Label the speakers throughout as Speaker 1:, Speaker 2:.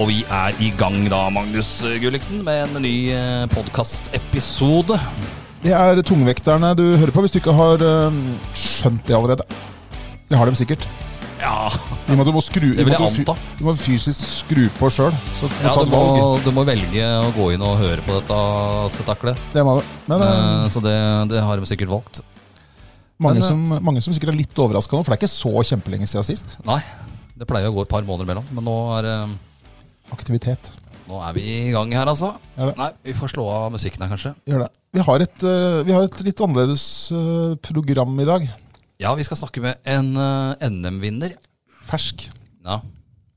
Speaker 1: Og vi er i gang da, Magnus Gulliksen, med en ny eh, podkastepisode.
Speaker 2: Det er tungvekterne du hører på, hvis du ikke har øhm, skjønt det allerede. Det har de sikkert.
Speaker 1: Ja,
Speaker 2: I og med at du må skru, i og
Speaker 1: vil
Speaker 2: med at
Speaker 1: jeg
Speaker 2: du fy-
Speaker 1: anta.
Speaker 2: Du må fysisk skru på sjøl. Så du
Speaker 1: ja
Speaker 2: tar
Speaker 1: du,
Speaker 2: et
Speaker 1: må,
Speaker 2: valg.
Speaker 1: du må velge å gå inn og høre på dette spetakkelet.
Speaker 2: Det må du. Men øhm,
Speaker 1: Eh, Så det, det har de sikkert valgt.
Speaker 2: mange,
Speaker 1: men, eh,
Speaker 2: som, mange som sikkert er litt overraska nå, for det er ikke så kjempelenge siden sist.
Speaker 1: Nei, det pleier å gå et par måneder imellom, men nå er, eh,
Speaker 2: Aktivitet.
Speaker 1: nå er vi i gang her, altså.
Speaker 2: Er det?
Speaker 1: Nei, Vi får slå av musikken her, kanskje.
Speaker 2: Gjør det. Vi har et, øh, vi har et litt annerledes øh, program i dag.
Speaker 1: Ja, vi skal snakke med en eh, NM-vinner.
Speaker 2: Fersk.
Speaker 1: Ja.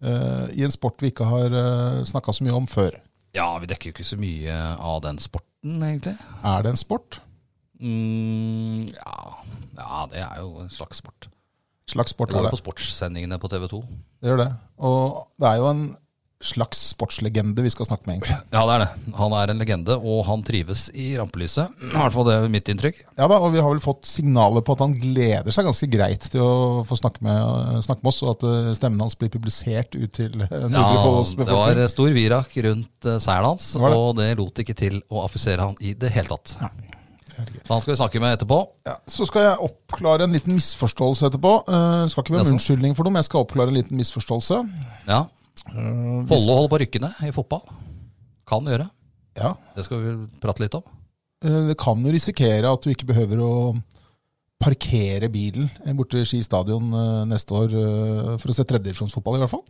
Speaker 2: øh, I en sport vi ikke har uh, snakka så mye om før.
Speaker 1: ja, vi dekker jo ikke så mye av den sporten, egentlig.
Speaker 2: Er det en sport?
Speaker 1: Mm, ja. ja, det er jo en slags sport.
Speaker 2: Slags sport
Speaker 1: Det
Speaker 2: er
Speaker 1: går
Speaker 2: det.
Speaker 1: jo på sportssendingene på TV 2.
Speaker 2: Det gjør det. Og det er jo en slags sportslegende vi skal snakke med, egentlig.
Speaker 1: Ja, det er det. Han er en legende, og han trives i rampelyset. I hvert fall det er mitt inntrykk.
Speaker 2: Ja da, og vi har vel fått signaler på at han gleder seg ganske greit til å få snakke med, snakke med oss, og at eh, stemmen hans blir publisert ut til eh, Nordre
Speaker 1: Ja,
Speaker 2: Follos
Speaker 1: det var
Speaker 2: befolkning.
Speaker 1: stor virak rundt eh, seieren hans,
Speaker 2: Det var det.
Speaker 1: og det lot ikke til å affisere han i det hele tatt.
Speaker 2: Herregud.
Speaker 1: Så han skal vi snakke med etterpå.
Speaker 2: Ja, så skal jeg oppklare en liten misforståelse etterpå. Uh, skal ikke be om
Speaker 1: Jaså?
Speaker 2: unnskyldning for noe, men jeg skal oppklare en liten misforståelse.
Speaker 1: Ja.
Speaker 2: Eh, hvis-
Speaker 1: Follo holder på å rykke ned i fotball. Kan gjøre.
Speaker 2: Ja,
Speaker 1: Det skal vi vel prate litt om.
Speaker 2: eh, det kan jo risikere at du ikke behøver å parkere bilen eh, borte i Ski stadion eh, neste år eh, for å se tredjedivisjonsfotball, i hvert fall.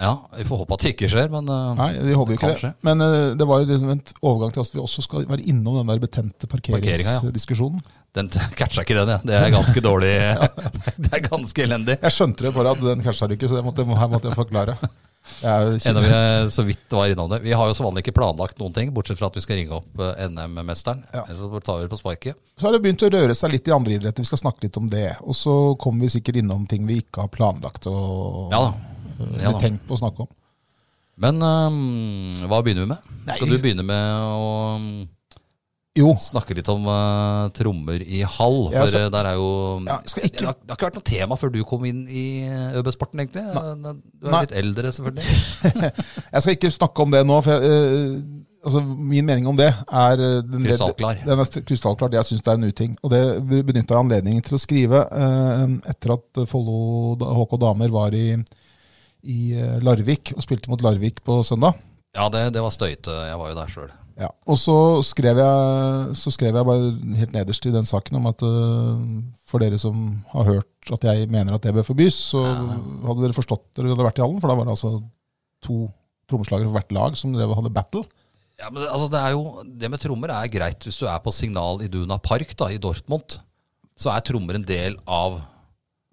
Speaker 1: Ja, Vi får håpe at det ikke skjer, men eh,
Speaker 2: Nei, vi håper
Speaker 1: Det
Speaker 2: jo ikke
Speaker 1: kan skje.
Speaker 2: det. Men eh, det var jo liksom en overgang til at vi også skal være innom den der betente
Speaker 1: Parkeringa, ja.
Speaker 2: parkeringsdiskusjonen.
Speaker 1: den t- catcha ikke den, jeg. Det er ganske dårlig. det er ganske elendig.
Speaker 2: Jeg skjønte det bare at den catcha du ikke, så det måtte, her måtte jeg forklare. Jeg er jo
Speaker 1: Enda vi
Speaker 2: kjempe-
Speaker 1: er så vidt var innom det. Vi har jo som vanlig ikke planlagt noen ting, bortsett fra at vi skal ringe opp eh, NM-mesteren.
Speaker 2: Ja.
Speaker 1: Ellers så tar vi det på sparket.
Speaker 2: så har det begynt å røre seg litt i andre idretter, vi skal snakke litt om det. Og så kommer vi sikkert innom ting vi ikke har planlagt og
Speaker 1: Ja da. Ja, da.
Speaker 2: tenkt på å snakke om.
Speaker 1: Men eh, hva begynner vi med?
Speaker 2: Nei.
Speaker 1: Skal du begynne med å mm,
Speaker 2: Jo,
Speaker 1: snakke litt om eh, trommer i hall?
Speaker 2: Ja,
Speaker 1: For
Speaker 2: så-
Speaker 1: eh, der er jo
Speaker 2: ja, skal
Speaker 1: det,
Speaker 2: ikke
Speaker 1: har, det har ikke vært noe tema før du kom inn i eh, ØB-sporten, egentlig. Du er
Speaker 2: Nei.
Speaker 1: litt eldre, selvfølgelig.
Speaker 2: Jeg skal ikke snakke om det nå, for jeg, eh, altså, min mening om det er eh, den,
Speaker 1: Krystallklar.
Speaker 2: Den er krystallklar. Det jeg syns det er en uting. Og det benytta jeg anledningen til å skrive eh, etter at Follo da- HK Damer var i, i eh, Larvik og spilte mot Larvik på søndag.
Speaker 1: Ja, det, det var støyte. Jeg var jo der sjøl.
Speaker 2: Ja. Og så skrev, jeg, så skrev jeg bare helt nederst i den saken om at eh, for dere som har hørt at jeg mener at det bør forbys, så hadde dere forstått dere hadde vært i hallen, for da var det altså to trommeslagere for hvert lag som drev og hadde battle.
Speaker 1: Ja, men det, altså det, er jo, det med trommer er greit hvis du er på signal i Duna Park da, i Dortmund. Så er trommer en del av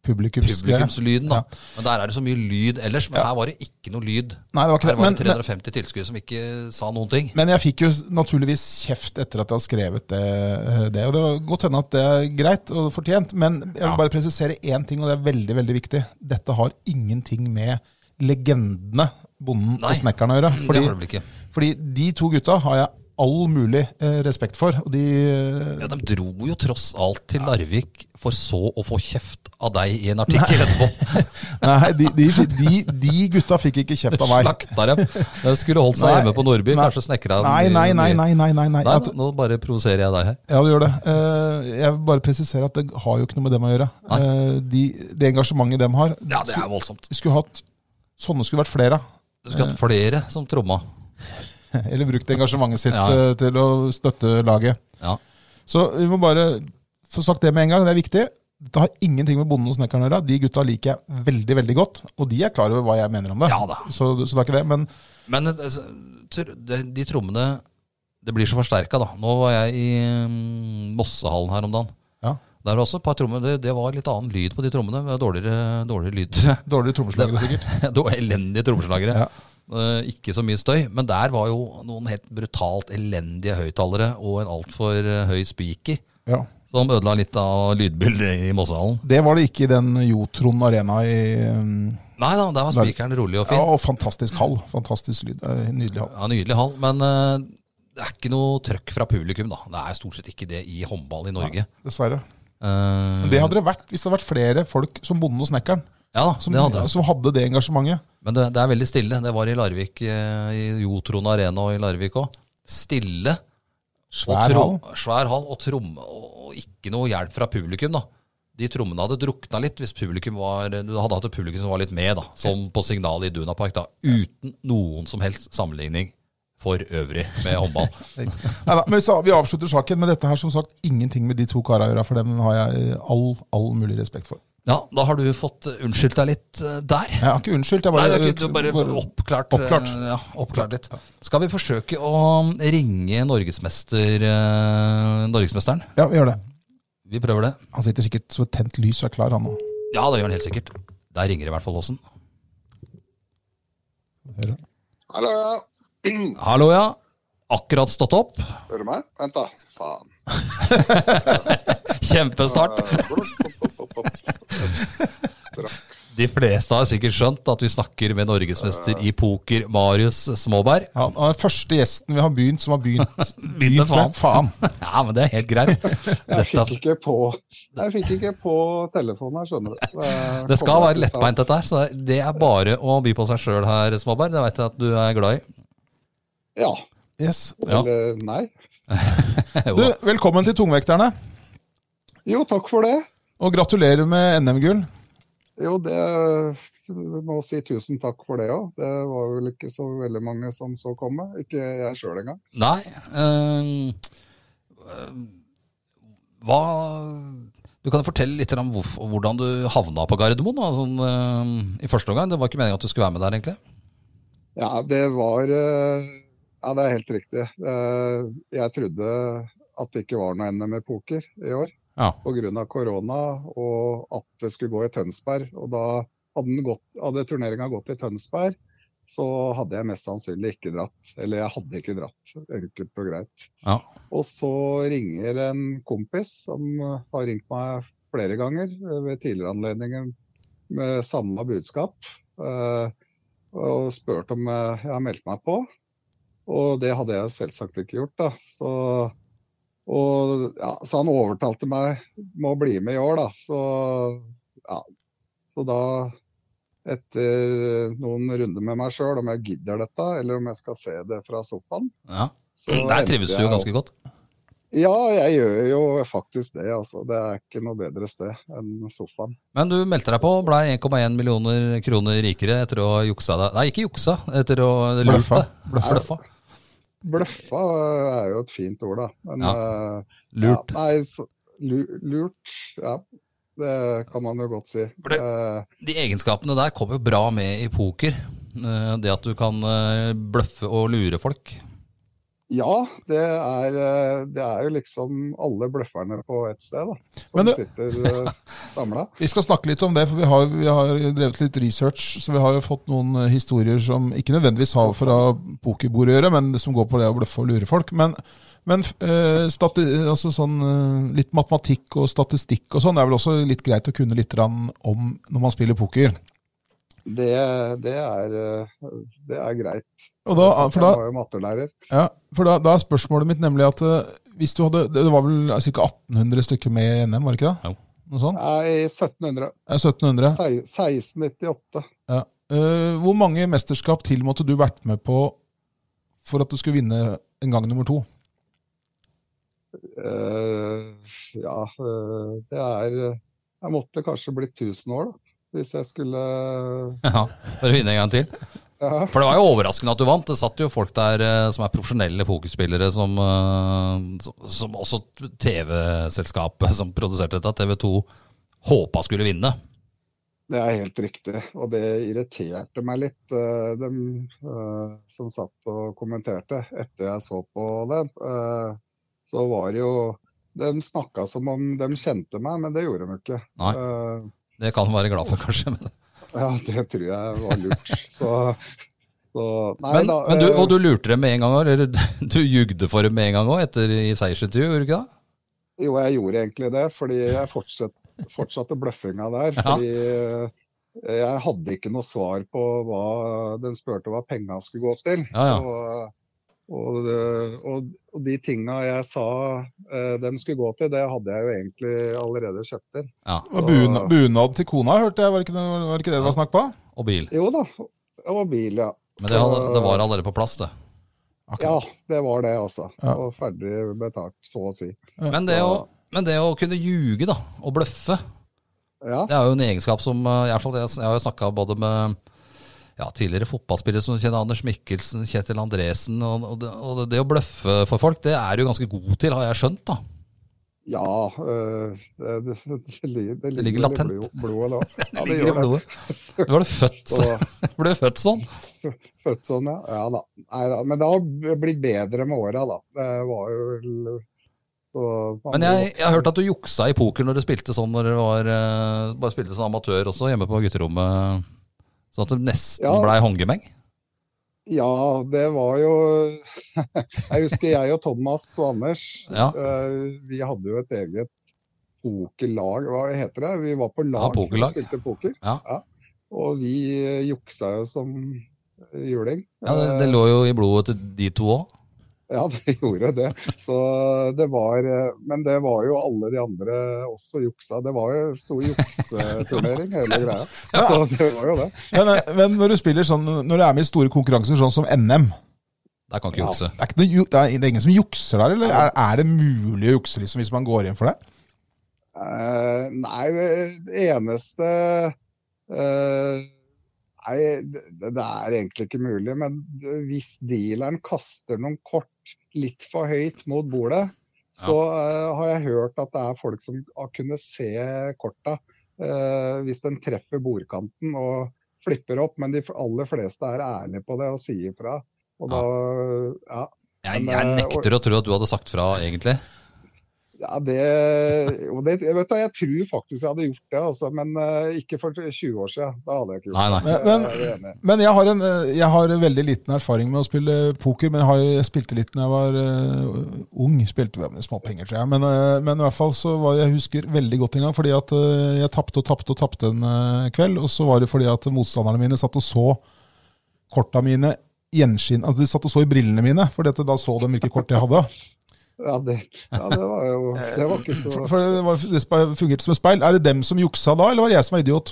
Speaker 2: publikumsgreie.
Speaker 1: publikumslyden. da. Men Der er det så mye lyd ellers. Men her var det ikke noe lyd.
Speaker 2: Nei, det var ikke
Speaker 1: Her
Speaker 2: det.
Speaker 1: var
Speaker 2: Men,
Speaker 1: det 350 tilskuere som ikke sa noen ting.
Speaker 2: men, men jeg fikk jo s- naturligvis kjeft etter at jeg hadde skrevet det. eh, det og det var godt hende at det er greit og fortjent, men jeg vil
Speaker 1: Ja.
Speaker 2: bare presisere én ting, og det er veldig veldig viktig. Dette har ingenting med legendene, bonden
Speaker 1: Nei.
Speaker 2: og snekkeren, å gjøre.
Speaker 1: det
Speaker 2: Fordi,
Speaker 1: har det vel ikke.
Speaker 2: fordi de to gutta har jeg all mulig eh, respekt for. Og de eh,
Speaker 1: Ja, de dro jo tross alt til Larvik for så å få kjeft av deg i en artikkel etterpå.
Speaker 2: Nei, de, de, de, de gutta fikk ikke kjeft av meg.
Speaker 1: Slakta dem. De skulle holdt seg
Speaker 2: Nei,
Speaker 1: hjemme på Nordby.
Speaker 2: nei.
Speaker 1: Kanskje snekra
Speaker 2: Nei, nei, nei. nei, nei, nei, nei. At,
Speaker 1: Nå bare provoserer jeg deg her.
Speaker 2: Ja, du gjør det. Eh, Jeg vil bare presisere at det har jo ikke noe med dem å gjøre.
Speaker 1: Nei.
Speaker 2: Eh, De, det engasjementet dem har
Speaker 1: Ja, det er voldsomt.
Speaker 2: Vi skulle hatt Sånne skulle vært flere av.
Speaker 1: Du skulle hatt flere som tromma.
Speaker 2: Eller brukt engasjementet sitt
Speaker 1: Ja, ja.
Speaker 2: eh, til å støtte laget.
Speaker 1: Ja.
Speaker 2: Så vi må bare få sagt det med en gang, det er viktig. Det har ingenting med bonden og snekkeren å gjøre. De gutta liker jeg veldig veldig godt, og de er klar over hva jeg mener om det.
Speaker 1: Ja da.
Speaker 2: Så, så det er ikke det. Men
Speaker 1: Men eh, altså, tr- de, de trommene Det blir så forsterka, da. Nå var jeg i mm, Mossehallen her om dagen.
Speaker 2: Ja.
Speaker 1: Der var også et par trommer, det, det var litt annen lyd på de trommene. med Dårligere, dårligere lyd.
Speaker 2: Dårligere trommeslagere, sikkert.
Speaker 1: Det var elendige trommeslagere.
Speaker 2: Ja.
Speaker 1: Eh, ikke så mye støy, men der var jo noen helt brutalt elendige høyttalere og en altfor eh, høy spiker
Speaker 2: Ja.
Speaker 1: som ødela litt av lydbildet i Mossehallen.
Speaker 2: Det var det ikke i den Jotron Arena i um,
Speaker 1: Nei da, der var spikeren rolig og
Speaker 2: Ja,
Speaker 1: fin.
Speaker 2: og fantastisk hall. Fantastisk lyd. eh, Nydelig hall.
Speaker 1: Ja, Nydelig hall, men eh, det er ikke noe trøkk fra publikum, da. Det er stort sett ikke det i håndball i Norge.
Speaker 2: Dessverre.
Speaker 1: Eh,
Speaker 2: Men det hadde det vært hvis det hadde vært flere folk som Bonde og Snekkeren,
Speaker 1: ja, da,
Speaker 2: som,
Speaker 1: det hadde
Speaker 2: som hadde det engasjementet.
Speaker 1: Men det, det er veldig stille. Det var i Larvik, eh, i Jotron Arena og i Larvik òg. Stille.
Speaker 2: Svær hall.
Speaker 1: og tro- Svær hall og tromme, og, og ikke noe hjelp fra publikum, da. De trommene hadde drukna litt hvis publikum var, du hadde hatt et publikum som var litt med, da. Som på signalet i Dunapark, da. Uten noen som helst sammenligning for øvrig med håndball.
Speaker 2: Neida, men så, Vi avslutter saken med dette her, som sagt. Ingenting med de to karene å gjøre, for dem har jeg eh, all, all mulig respekt for.
Speaker 1: Ja, da har du fått unnskyldt deg litt eh, der.
Speaker 2: Jeg har ikke unnskyldt. Jeg
Speaker 1: Nei,
Speaker 2: bare,
Speaker 1: det er ikke, det er bare oppklart, eh,
Speaker 2: Oppklart.
Speaker 1: Ja, oppklart litt. Skal vi forsøke å um, ringe norgesmester, eh, norgesmesteren?
Speaker 2: Ja, vi gjør det.
Speaker 1: Vi prøver det.
Speaker 2: Han sitter sikkert som et tent lys og er klar, han nå.
Speaker 1: Ja, det gjør han helt sikkert. Der ringer i hvert fall Åsen.
Speaker 2: Hører.
Speaker 3: Hallo, ja.
Speaker 1: Hallo, ja. Akkurat stått opp.
Speaker 3: Hører du meg? Vent, da. Faen.
Speaker 1: Kjempestart.
Speaker 4: Eh,
Speaker 3: Straks.
Speaker 1: De fleste har sikkert skjønt at vi snakker med norgesmester i poker, Marius Småberg.
Speaker 2: Ja, han er den første gjesten vi har begynt som har begynt,
Speaker 1: Begynn med faen.
Speaker 2: faen.
Speaker 1: Ja, men det er helt greit.
Speaker 4: Jeg fikk
Speaker 1: Dette,
Speaker 4: ikke på, jeg fikk ikke på telefonen her, skjønner du. Det,
Speaker 1: det skal
Speaker 4: kommer
Speaker 1: være
Speaker 4: ikke
Speaker 1: lettbeint, dette her. Så det er bare å by på seg sjøl her, Småberg. Det veit jeg at du er glad i.
Speaker 4: sant. Ja.
Speaker 2: Yes.
Speaker 1: Ja.
Speaker 4: Eller nei.
Speaker 2: Du, velkommen til Tungvekterne,
Speaker 4: Jo, takk for det.
Speaker 2: og gratulerer med NM-gull.
Speaker 4: Jo, det jeg må si tusen takk for det òg. Det var vel ikke så veldig mange som så komme. Ikke jeg sjøl engang.
Speaker 1: Nei. øhm, øhm, hva Du kan fortelle litt om hvorf- hvordan du havna på Gardermoen da, sånn, øhm, i første omgang. Det var ikke meningen at du skulle være med der, egentlig.
Speaker 4: Ja, det var eh, Ja, det er helt riktig. Eh, Jeg trodde at det ikke var noe NM i poker i år
Speaker 1: Ja.
Speaker 4: pga. korona, og at det skulle gå i Tønsberg. Og da hadde, den gått- hadde turneringa gått i Tønsberg, så hadde jeg mest sannsynlig ikke dratt. Eller jeg hadde ikke dratt, enkelt og greit.
Speaker 1: Ja.
Speaker 4: Og så ringer en kompis som har ringt meg flere ganger eh, ved tidligere anledninger med samme budskap. eh, Og spurt om eh, jeg har meldt meg på. Og det hadde jeg selvsagt ikke gjort, da. Så, og, ja, så han overtalte meg med å bli med i år, da. Så, ja. så da, etter noen runder med meg sjøl, om jeg gidder dette, eller om jeg skal se det fra sofaen
Speaker 1: ja.
Speaker 4: så
Speaker 1: Mm, Der trives
Speaker 4: endte
Speaker 1: du jo
Speaker 4: jeg
Speaker 1: ganske godt.
Speaker 4: ja, jeg gjør jo faktisk det. altså. Det er ikke noe bedre sted enn sofaen.
Speaker 1: Men du meldte deg på og blei 1,1 millioner kroner rikere etter å ha juksa deg Nei, ikke juksa, etter å lurt
Speaker 2: Bløffa.
Speaker 1: deg. Bløffa.
Speaker 4: Bløffa er jo et fint ord, da. Men, eh,
Speaker 1: Lurt.
Speaker 4: Ja, nei, så, lu, lurt, ja. Det kan man jo godt si.
Speaker 1: For det-
Speaker 4: Eh,
Speaker 1: De egenskapene der kommer jo bra med i poker. Eh, Det at du kan eh, bløffe og lure folk.
Speaker 4: ja, det er, eh, det er jo liksom alle bløfferne på ett sted, da. Som
Speaker 2: Men du-
Speaker 4: sitter eh, samla.
Speaker 2: Vi skal snakke litt om det, for vi har, vi har drevet litt research. Så vi har jo fått noen eh, historier som ikke nødvendigvis har fra pokerbord å gjøre, men som går på det å bløffe og lure folk. Men, men eh, stati, altså sånn, eh, litt matematikk og statistikk og sånn er vel også litt greit å kunne litt grann om når man spiller poker.
Speaker 4: Det, det, er, eh, det er greit.
Speaker 2: Og da, for da,
Speaker 4: Jeg var jo mattelærer.
Speaker 2: ja, for da, da er spørsmålet mitt nemlig at eh, hvis du hadde, det var vel ca. 1800 stykker med i NM, var det ikke det?
Speaker 1: Jo.
Speaker 2: Noe sånt?
Speaker 4: Nei, 1700.
Speaker 2: Eh, 1700.
Speaker 4: Sei- 1698.
Speaker 2: Ja. Eh, hvor mange mesterskap til måtte du vært med på for at du skulle vinne en gang nummer to?
Speaker 4: Eh, ja, eh, det er Jeg måtte kanskje blitt 1000 år, da. Hvis jeg skulle eh,
Speaker 1: Ja, For å vinne en gang til.
Speaker 4: ja.
Speaker 1: For det var jo overraskende at du vant. Det satt jo folk der eh, som er profesjonelle pokerspillere, som, eh, som- som også TV-selskapet som produserte dette, TV2, håpa skulle vinne.
Speaker 4: Det er helt riktig, og det irriterte meg litt, eh, dem eh, som satt og kommenterte etter jeg så på det. Eh, så var det jo De snakka som om de kjente meg, men det gjorde de ikke.
Speaker 1: Nei.
Speaker 4: Eh,
Speaker 1: Det kan man være glad for, kanskje. Men,
Speaker 4: Ja, det tror jeg var lurt. Så, så nei
Speaker 1: men,
Speaker 4: da.
Speaker 1: men du,
Speaker 4: eh,
Speaker 1: og du lurte dem med en gang òg? Eller du jugde for dem med en gang òg, etter i seiersintervjuet, gjorde du ikke det?
Speaker 4: eh, Jo, jeg gjorde egentlig det, fordi jeg fortsatt, fortsatte bløffinga der.
Speaker 1: Ja.
Speaker 4: Fordi eh, jeg hadde ikke noe svar på hva Den spurte hva penga skulle gå til.
Speaker 1: Ja, ja.
Speaker 4: Og, og, det- og, og de tinga jeg sa eh, de skulle gå til, det hadde jeg jo egentlig allerede kjøpt inn.
Speaker 1: ja.
Speaker 2: Det var Bunad, bunad til kona, hørte jeg. Var det ikke det var det ikke det det var snakk på?
Speaker 1: Og bil.
Speaker 4: Jo da. Og bil, ja.
Speaker 1: Men det, hadde, det var allerede på plass, det.
Speaker 4: Ja, det var det, altså.
Speaker 2: Ja.
Speaker 4: Og ferdig betalt, så å si.
Speaker 1: Men det å, men det å kunne ljuge, da, og bløffe,
Speaker 4: Ja.
Speaker 1: Det er jo en egenskap som eh, i hvert fall det- Jeg har jo snakka både med ja, tidligere fotballspillere som du kjenner, Anders Mikkelsen, Kjetil Andresen. Og, og, det, og det å bløffe for folk, det er du ganske god til, har jeg skjønt. da.
Speaker 4: Ja, øh, det, det, det, li- det ligger,
Speaker 1: ligger
Speaker 4: vel i
Speaker 1: latent.
Speaker 4: blod- blodet da. Ja,
Speaker 1: ligger i blodet. Du var det født,
Speaker 4: Så,
Speaker 1: ble du født sånn.
Speaker 4: født sånn, ja. ja da. Nei, da. Men det har blitt bedre med åra, da. Det var jo vel- så,
Speaker 1: Men jeg, jeg har hørt at du juksa i poker når du spilte sånn når du var, eh, bare spilte som amatør også, hjemme på gutterommet. Sånn at det nesten
Speaker 4: Ja.
Speaker 1: blei håndgemeng.
Speaker 4: Ja, det var jo Jeg husker jeg og Thomas og Anders,
Speaker 1: Ja.
Speaker 4: øh, vi hadde jo et eget pokerlag, hva heter det? Vi var på lag
Speaker 1: pokerlag.
Speaker 4: og spilte poker.
Speaker 1: Ja.
Speaker 4: Og vi øh, juksa jo som eh, juling. Eh,
Speaker 1: Ja, det, det lå jo i blodet til de to òg.
Speaker 4: Ja, det gjorde det. Så det var, eh, men det var jo alle de andre også juksa. Det var jo stor jukseturnering, hele greia. Så det var jo det.
Speaker 2: Men, eh, men når du spiller sånn, når du er med i store konkurranser sånn som NM,
Speaker 1: Der kan ikke
Speaker 4: Ja.
Speaker 1: jukse.
Speaker 2: det er, ikke noe, ju- det er, det er ingen som jukser der? Eller er, er det mulig å jukse liksom, hvis man går inn for det?
Speaker 4: Eh, nei, det eneste eh, Nei, det, det er egentlig ikke mulig. Men hvis dealeren kaster noen kort litt for høyt mot bordet, så eh, har jeg hørt at det er folk som har kunnet se korta eh, hvis den treffer bordkanten og flipper opp. Men de aller fleste er ærlige på det og sier fra. Og da, ja,
Speaker 1: Jeg,
Speaker 4: Men,
Speaker 1: jeg
Speaker 4: eh,
Speaker 1: nekter å tro at du hadde sagt fra, egentlig.
Speaker 4: Ja, det, jo, det jeg vet du, Jeg tror faktisk jeg hadde gjort det, altså, men eh, ikke for 20 år siden. Da hadde jeg ikke gjort
Speaker 1: Nei, nei.
Speaker 4: det. Eh,
Speaker 2: Men, men,
Speaker 4: Jeg er enig.
Speaker 2: men jeg, har en, eh, jeg har en veldig liten erfaring med å spille poker. Men jeg, har, jeg spilte litt da jeg var eh, ung. Spilte vel med småpenger, tror jeg. Men, eh, men i hvert fall så var jeg husker veldig godt en gang, fordi at eh, jeg tapte og tapte og tapte en eh, kveld. Og så var det fordi at motstanderne mine satt og så korta mine gjenskinn Altså de satt og så i brillene mine, for da så de hvilke kort jeg hadde.
Speaker 4: Ja, det, ja, det var jo Det var ikke så
Speaker 2: For, for det, var, det spe- fungerte som et speil. Er det dem som juksa da, eller var det jeg som var idiot?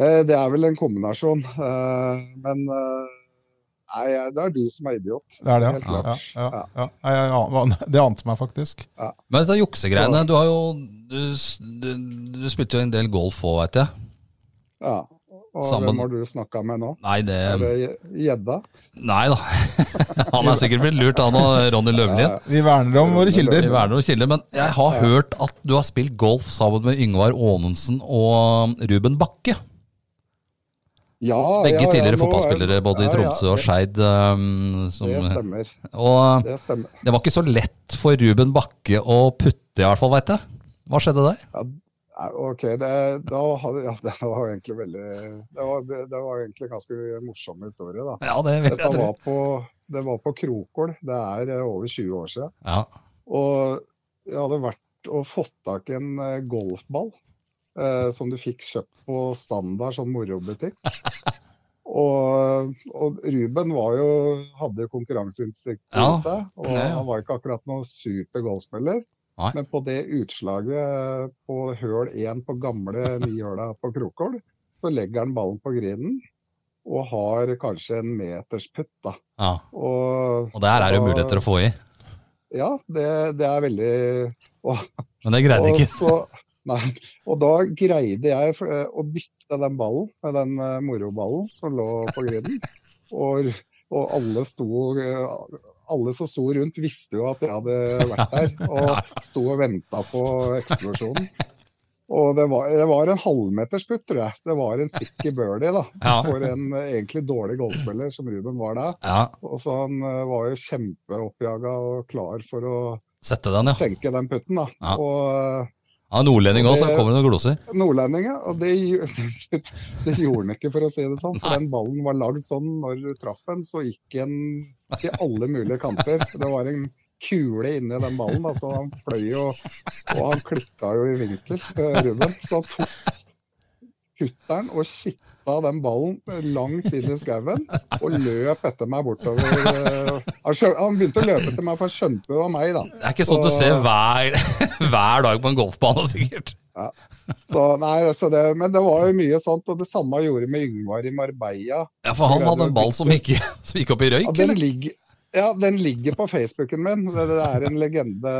Speaker 4: Eh, Det er vel en kombinasjon. eh, Men eh, nei, jeg- det er du som er idiot.
Speaker 2: Det er det,
Speaker 4: Helt
Speaker 2: ja. ja,
Speaker 4: klart.
Speaker 2: ja, ja. Nei, jeg an- Det ante meg faktisk.
Speaker 1: Men dette juksegreiene, du har jo du, du, du spilte jo en del golf òg, veit jeg.
Speaker 4: Ja. Og
Speaker 1: Sammen-
Speaker 4: hvem har du snakka med nå?
Speaker 1: Nei, det
Speaker 4: Er det gjedda?
Speaker 1: Nei da. Han er sikkert blitt lurt, han og Ronny Løvlien.
Speaker 2: Vi verner om våre
Speaker 1: Vi
Speaker 2: kilder.
Speaker 1: verner om kilder, men jeg har hørt at du har spilt golf sammen med Yngvar Aanensen og Ruben Bakke.
Speaker 4: Ja,
Speaker 1: Begge
Speaker 4: ja, ja,
Speaker 1: tidligere
Speaker 4: nå er-
Speaker 1: fotballspillere både i
Speaker 4: ja, ja,
Speaker 1: Tromsø og Skeid. um, som-
Speaker 4: Det, det stemmer.
Speaker 1: Og eh,
Speaker 4: Det stemmer.
Speaker 1: det var ikke så lett for Ruben Bakke å putte, i hvert fall, veit jeg. Hva skjedde der?
Speaker 4: Nei, Ok, det, da hadde, ja, det var jo egentlig veldig Det var, det var jo egentlig en ganske morsom historie, da.
Speaker 1: Ja, det vil
Speaker 4: Dette
Speaker 1: jeg tro.
Speaker 4: var på, det var på Krokål, det er eh, over 20 år siden.
Speaker 1: Ja.
Speaker 4: Og jeg hadde vært og fått tak i en eh, golfball eh, som du fikk kjøpt på standard sånn morobutikk. Og, og Ruben var jo, hadde jo konkurranseinstinkt i
Speaker 1: Ja,
Speaker 4: seg, og
Speaker 1: det, ja.
Speaker 4: han var ikke akkurat noen super golfspiller.
Speaker 1: Nei.
Speaker 4: Men på det utslaget på høl én på gamle nihøla på Krokål, så legger han ballen på grinen og har kanskje en meters putt, da.
Speaker 1: ja.
Speaker 4: Og
Speaker 1: Og der er det jo muligheter å få i.
Speaker 4: ja, det, det er veldig
Speaker 1: Men det greide
Speaker 4: Og
Speaker 1: ikke.
Speaker 4: Så, nei, og da greide jeg for- eh, å bytte den ballen med den eh, moroballen som lå på grillen. Og, og alle, sto, eh, alle som sto rundt, visste jo at jeg hadde vært der. Og sto og venta på eksplosjonen. Og det var, det var en halvmeters putt, tror jeg. Det var en sikker birdie da,
Speaker 1: Ja.
Speaker 4: for en eh, egentlig dårlig golfspiller som Ruben var da.
Speaker 1: Ja.
Speaker 4: Og så han eh, var jo kjempeoppjaga og klar for å
Speaker 1: Sette den, ja.
Speaker 4: senke den putten. da.
Speaker 1: Ja.
Speaker 4: Og eh,
Speaker 1: ja nordlending òg, så kommer det noen gloser.
Speaker 4: nordlendinger, og det, gj- det gjorde han ikke, for å si det sånn. For den ballen var lagd sånn når du traff den, så gikk den til alle mulige kanter. Det var en kule inni den ballen, da, så han fløy jo, og han klikka jo i vinkel, eh, Ruben. Så han tok kutteren og skitta den ballen langt inn i skauen, og løp etter meg bortover. eh, Han, skjø- han begynte å løpe etter meg, for han skjønte det var meg, da.
Speaker 1: Det er ikke sånt du
Speaker 4: Så-
Speaker 1: ser hver, hver dag på en golfbane, sikkert.
Speaker 4: Så, nei, så det, men det var jo mye sånt, og det samme gjorde med Yngvar i Marbella.
Speaker 1: Ja, For han hadde en ball som gikk, som gikk opp i
Speaker 4: Ja,
Speaker 1: røyk,
Speaker 4: den
Speaker 1: eller?
Speaker 4: ligger, ja, den ligger på Facebooken min. Det, det er en legende.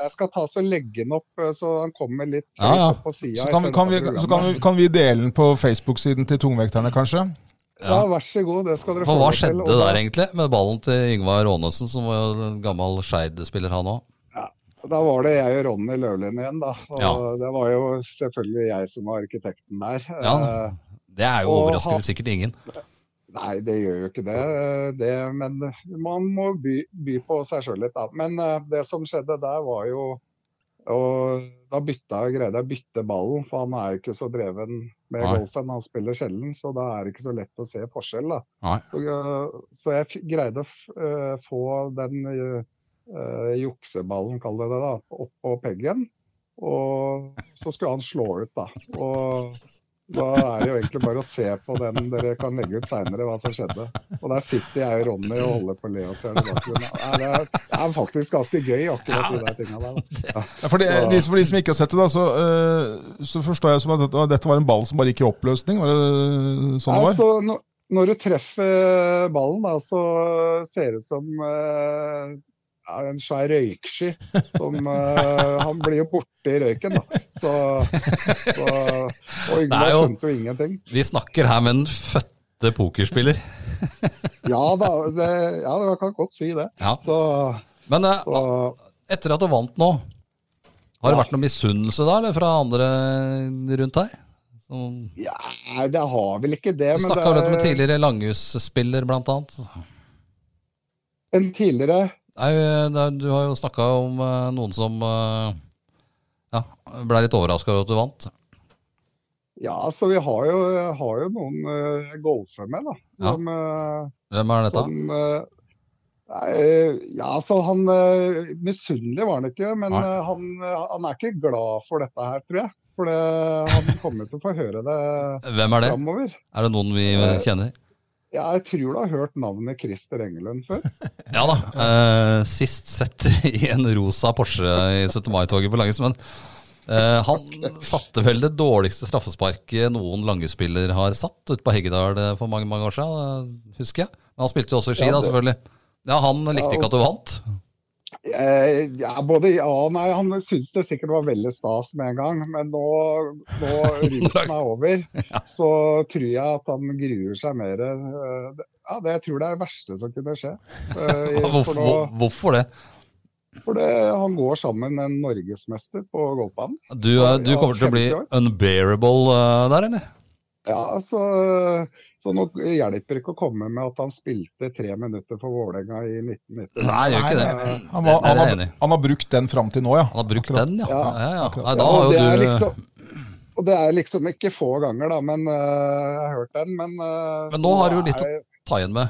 Speaker 4: Jeg skal ta så legge den opp, eh, så han kommer litt
Speaker 1: Ja, ja.
Speaker 4: opp på sida.
Speaker 2: Så kan vi, kan vi, så kan vi, kan vi dele den på Facebook-siden til tungvekterne, kanskje?
Speaker 4: Ja, vær så god. Det skal dere
Speaker 1: For hva
Speaker 4: lov til,
Speaker 1: skjedde
Speaker 4: og da-
Speaker 1: der egentlig med ballen til Yngvar Aanesen, som var en gammel Skeid-spiller han òg?
Speaker 4: Da var det jeg og Ronny Løvlin igjen, da. Og
Speaker 1: Ja.
Speaker 4: det var jo selvfølgelig jeg som var arkitekten der.
Speaker 1: Ja.
Speaker 4: Eh,
Speaker 1: Det er jo
Speaker 4: Og
Speaker 1: overraskende
Speaker 4: han-
Speaker 1: sikkert ingen.
Speaker 4: Nei, det gjør jo ikke det. det men man må by, by på seg sjøl litt, da. Men eh, det som skjedde der, var jo og Da bytta, greide jeg å bytte ballen, for han er jo ikke så dreven med
Speaker 1: Nei.
Speaker 4: golfen. Han spiller sjelden, så da er det ikke så lett å se forskjell. da.
Speaker 1: Nei.
Speaker 4: Så, eh, så jeg f- greide å f eh, få den eh, eh, jukseballen, kall det det, da, oppå peggen. Og så skulle han slå ut, da. Og da er det jo egentlig bare å se på den dere kan legge ut seinere, hva som skjedde. Og der sitter jeg og Ronny og holder på å le oss i hjel i bakgrunnen. Nei, Det er- det er faktisk ganske gøy, akkurat de der tinga der.
Speaker 2: Ja, for, de,
Speaker 4: Ja.
Speaker 2: de, for de som ikke har sett det, da, så, eh, så forstår jeg som at dette, dette var en ball som bare gikk i oppløsning? Var det sånn det var?
Speaker 4: Altså, når, når du treffer ballen, da, så ser det ut som eh, ja, en svær røyksky. Som, eh, han blir jo borte i røyken, da. Så, så, og Yngvar
Speaker 1: Det er jo-
Speaker 4: skjønte jo ingenting.
Speaker 1: Vi snakker her med en fødte pokerspiller.
Speaker 4: Ja da, det, ja, jeg kan godt si det.
Speaker 1: Ja.
Speaker 4: Så,
Speaker 1: Men eh,
Speaker 4: så
Speaker 1: etter at du vant nå, har det
Speaker 4: Ja.
Speaker 1: vært noe misunnelse da, eller fra andre rundt her? Sånn-
Speaker 4: ja, nei, det har vel ikke det.
Speaker 1: Du
Speaker 4: men det
Speaker 1: snakka vel om en
Speaker 4: er-
Speaker 1: tidligere langhusspiller, blant annet.
Speaker 4: En tidligere
Speaker 1: Nei, det er- du har jo snakka om eh, noen som eh, ja, blei litt overraska over at du vant.
Speaker 4: Ja, så vi har jo, har jo noen uh, golfer med, da.
Speaker 1: Ja.
Speaker 4: Som, eh,
Speaker 1: Hvem er dette?
Speaker 4: Som, eh, nei, eh, ja, så han eh, Misunnelig var han ikke, men
Speaker 1: Nei.
Speaker 4: eh, han, eh, han er ikke glad for dette her, tror jeg. For det, han kommer til å få høre det
Speaker 1: Hvem er det?
Speaker 4: framover.
Speaker 1: Er det noen vi
Speaker 4: Eh,
Speaker 1: kjenner?
Speaker 4: Ja, jeg tror du har hørt navnet Christer Engelund før.
Speaker 1: Ja da. eh, sist sett i en rosa Porsche i 17. mai-toget på Langes, men eh, han satte vel det dårligste straffesparket noen langespiller har satt, ute på Heggedal eh, for mange mange år siden, eh, husker jeg. Men han spilte jo også i ski,
Speaker 4: Ja,
Speaker 1: da,
Speaker 4: det-
Speaker 1: selvfølgelig. Ja, Han
Speaker 4: Ja,
Speaker 1: likte ikke
Speaker 4: og-
Speaker 1: at du vant.
Speaker 4: Eh, ja, både ja og nei. Han syntes det sikkert var veldig stas med en gang, men nå, nå rusen er over, så tror jeg at han gruer seg mer. eh, det- Ja, det, jeg tror det er det verste som kunne skje. Eh, i- for
Speaker 1: Hvorfor,
Speaker 4: nå-
Speaker 1: hvorfor det?
Speaker 4: For det, han går sammen en norgesmester på golfbanen.
Speaker 1: Du, eh, du
Speaker 4: Ja,
Speaker 1: kommer til å bli
Speaker 4: 50 år.
Speaker 1: unbearable eh, der, eller?
Speaker 4: Ja, så, så nå hjelper det ikke å komme med at han spilte tre minutter for Vålerenga i 1990.
Speaker 1: Nei, gjør ikke det.
Speaker 2: han,
Speaker 1: Det
Speaker 2: var,
Speaker 1: er
Speaker 2: han,
Speaker 1: jeg
Speaker 2: har,
Speaker 1: enig i.
Speaker 2: han har brukt den fram til nå, ja.
Speaker 1: Han har brukt
Speaker 2: Akkurat.
Speaker 1: den, ja. ja,
Speaker 4: Ja,
Speaker 1: ja, ja.
Speaker 2: akkurat.
Speaker 1: Nei,
Speaker 4: Ja,
Speaker 1: da
Speaker 4: og,
Speaker 1: har
Speaker 4: det er
Speaker 1: jo du
Speaker 4: liksom, og det er liksom ikke få ganger, da, men eh, jeg har hørt den. Men, eh,
Speaker 1: Men
Speaker 4: så
Speaker 1: nå har du jo litt å-
Speaker 4: er-
Speaker 1: ta igjen med.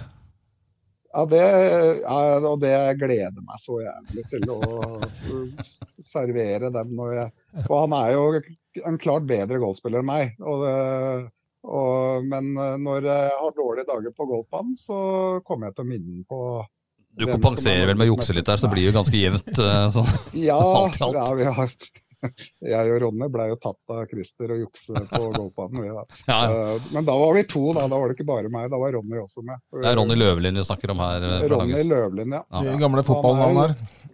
Speaker 4: Ja, det, ja, og det gleder meg så jævlig til å uh, servere dem. Når jeg, for han er jo en klart bedre golfspiller enn meg. Og det, og, men uh, når jeg har dårlige dager på golfbanen, så kommer jeg til å minne ham på
Speaker 1: Du
Speaker 4: Hvem som er
Speaker 1: kompenserer vel med å jukse litt der, så det blir jo ganske jevnt. eh, Sånn.
Speaker 4: Ja,
Speaker 1: Alt i alt.
Speaker 4: ja vi har, jeg og Ronny ble jo tatt av Christer og jukse på golfbanen. Vi, da.
Speaker 1: Ja, ja.
Speaker 4: Uh, Men da var vi to, da. Da var det ikke bare meg, da var Ronny også med.
Speaker 1: Det er Ronny Løvelin vi snakker om her. eh, Fra
Speaker 4: Ronny
Speaker 1: Langhus.
Speaker 4: Løvlin, ja.
Speaker 1: Ja.
Speaker 2: De gamle fotballnavnene her.
Speaker 4: ja.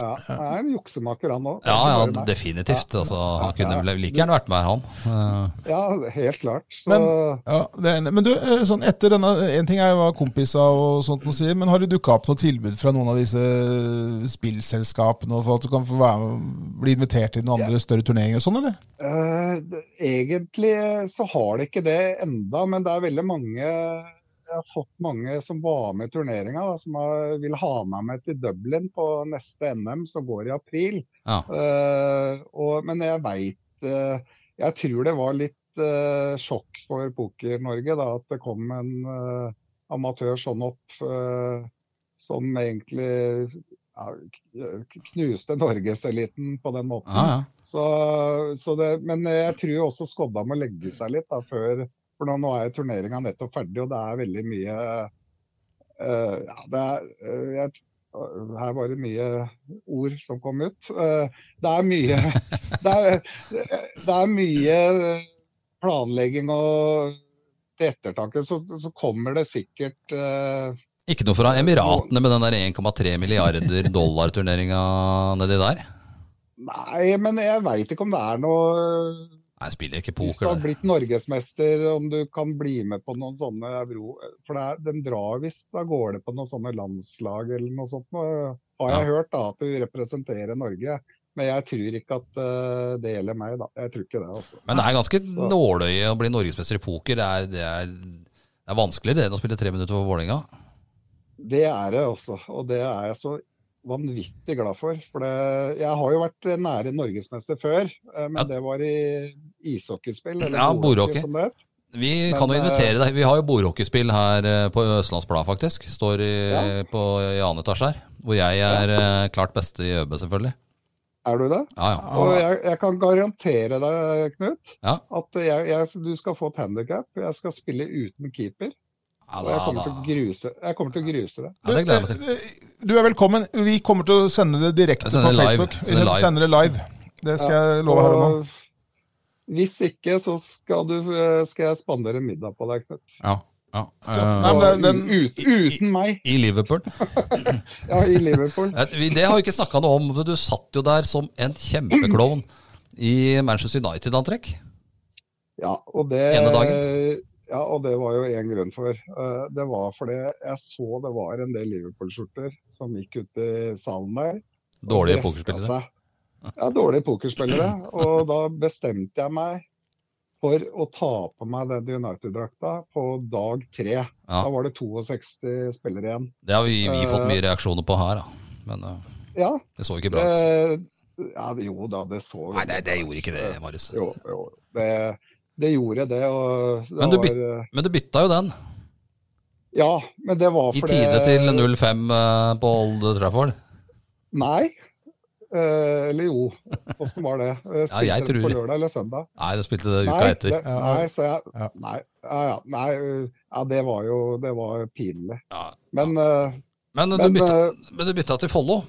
Speaker 4: Han er en juksemaker, han òg.
Speaker 1: Ja, ja, definitivt. Altså, han kunne vel like gjerne vært med, han. Eh,
Speaker 4: Ja, helt klart. Så,
Speaker 2: Ja, det er enig. Men du, eh, sånn etter denne, en ting er jo hva kompiser og sånt noe sier, men har det dukka opp noe tilbud fra noen av disse spillselskapene og for at du kan få være, bli invitert til noen andre større turneringer og sånn, eller?
Speaker 4: eh, det- egentlig så har det ikke det enda, men det er veldig mange jeg har fått mange som var med i turneringa, da, som har, vil ha meg med til Dublin på neste NM, som går i april.
Speaker 1: Ja.
Speaker 4: Eh, og, men jeg veit Jeg tror det var litt eh, sjokk for Poker-Norge da, at det kom en eh, amatør sånn opp eh, som egentlig ja, k- knuste norgeseliten på den måten.
Speaker 1: Ja, ja.
Speaker 4: Så, så det, men jeg tror også Skodda må legge seg litt da, før For nå, nå er jo turneringa nettopp ferdig, og det er veldig mye eh, ja, det er, eh, jeg, Her var det mye ord som kom ut. Eh, det er mye det er, det er mye planlegging og til ettertanke så, så kommer det sikkert eh,
Speaker 1: Ikke noe fra Emiratene med den der 1,3 milliarder dollar-turneringa nedi der?
Speaker 4: Nei, men jeg veit ikke om det er noe
Speaker 1: Nei, spiller ikke
Speaker 4: Hvis du
Speaker 1: poker,
Speaker 4: har
Speaker 1: det.
Speaker 4: blitt norgesmester, om du kan bli med på noen sånne euro... For det er, den drar visst av gårde på noen sånne landslag eller noe sånt. Nå har jeg hørt da, at du representerer Norge, men jeg tror ikke at eh, det gjelder meg, da. Jeg tror ikke det, altså.
Speaker 1: Men det er ganske
Speaker 4: Så-
Speaker 1: nåløye å bli norgesmester i poker. Det er, det er, det er vanskeligere det enn å spille tre minutter for Vålerenga.
Speaker 4: Det er det også, og det er jeg så vanvittig glad for. For det, jeg har jo vært nære norgesmester før, eh, men
Speaker 1: Ja.
Speaker 4: det var i ishockeyspill, eller
Speaker 1: Ja, bordhockey.
Speaker 4: bordhockey som det het.
Speaker 1: Vi
Speaker 4: Men,
Speaker 1: kan jo
Speaker 4: eh,
Speaker 1: invitere deg. Vi har jo bordhockeyspill her eh, på Østlands Blad, faktisk. Står i, på, i annen etasje her. Hvor jeg er eh, klart beste i ØB, selvfølgelig.
Speaker 4: Er du det?
Speaker 1: Ja, ja.
Speaker 4: Og jeg, jeg kan garantere deg, Knut,
Speaker 1: Ja.
Speaker 4: at jeg, jeg, du skal få et handikap. Jeg skal spille uten keeper.
Speaker 1: ja,
Speaker 4: Og
Speaker 1: da,
Speaker 4: jeg kommer til å
Speaker 1: da.
Speaker 4: gruse, jeg kommer til å gruse det.
Speaker 1: ja det gleder jeg meg til.
Speaker 2: Eh, Du er velkommen. Vi kommer til å sende det direkte
Speaker 1: Jeg sender
Speaker 2: på
Speaker 1: live.
Speaker 2: Facebook.
Speaker 1: Sender live.
Speaker 2: Vi sender det live. Det skal jeg love her og nå.
Speaker 4: Og hvis ikke, så skal, du, eh, skal jeg spandere middag på deg, Knut.
Speaker 1: Ja, ja.
Speaker 2: Nei,
Speaker 1: Eh,
Speaker 2: men den-
Speaker 4: Og ut, uten meg
Speaker 1: I Liverpool.
Speaker 4: ja, i Liverpool.
Speaker 1: Eh, vi- Det har vi ikke snakka noe om. for Du satt jo der som en kjempeklovn i Manchester United-antrekk.
Speaker 4: Ja, og det,
Speaker 1: Ene
Speaker 4: ja, og det var jo én grunn for. Eh, Det var fordi jeg så det var en del Liverpool-skjorter som gikk ut i salen der.
Speaker 1: Dårlige
Speaker 4: og dreska
Speaker 1: pokerspillere.
Speaker 4: seg. Ja, dårlige pokerspillere. Og da bestemte jeg meg for å ta på meg den United-drakta på dag tre.
Speaker 1: Ja.
Speaker 4: Da var det 62 spillere igjen.
Speaker 1: Det har vi, vi
Speaker 4: Eh,
Speaker 1: fått mye reaksjoner på her, da. Men eh,
Speaker 4: Ja,
Speaker 1: det så ikke bra ut.
Speaker 4: eh, ja jo da, det så
Speaker 1: Nei, det, det gjorde ikke det, Marius.
Speaker 4: eh, Jo, jo. Det, det gjorde det. Og det
Speaker 1: Men du byt-
Speaker 4: var, eh,
Speaker 1: Men du bytta jo den,
Speaker 4: Ja, men det var
Speaker 1: i
Speaker 4: fordi
Speaker 1: tide til 05 eh, på Old Trafford.
Speaker 4: Nei. Eh, eller jo, åssen var det? Eh, Spilte
Speaker 1: jeg
Speaker 4: den på
Speaker 1: tror-
Speaker 4: lørdag eller søndag?
Speaker 1: Nei, du spilte det uka
Speaker 4: Nei,
Speaker 1: etter.
Speaker 4: det- Nei, så jeg,
Speaker 2: Ja.
Speaker 4: nei, ja, ja, nei, uh, ja, det var jo det var pinlig.
Speaker 1: Ja.
Speaker 4: Men, uh,
Speaker 1: Men, du
Speaker 4: men
Speaker 1: bytta,
Speaker 4: uh,
Speaker 1: men du bytta til Follo.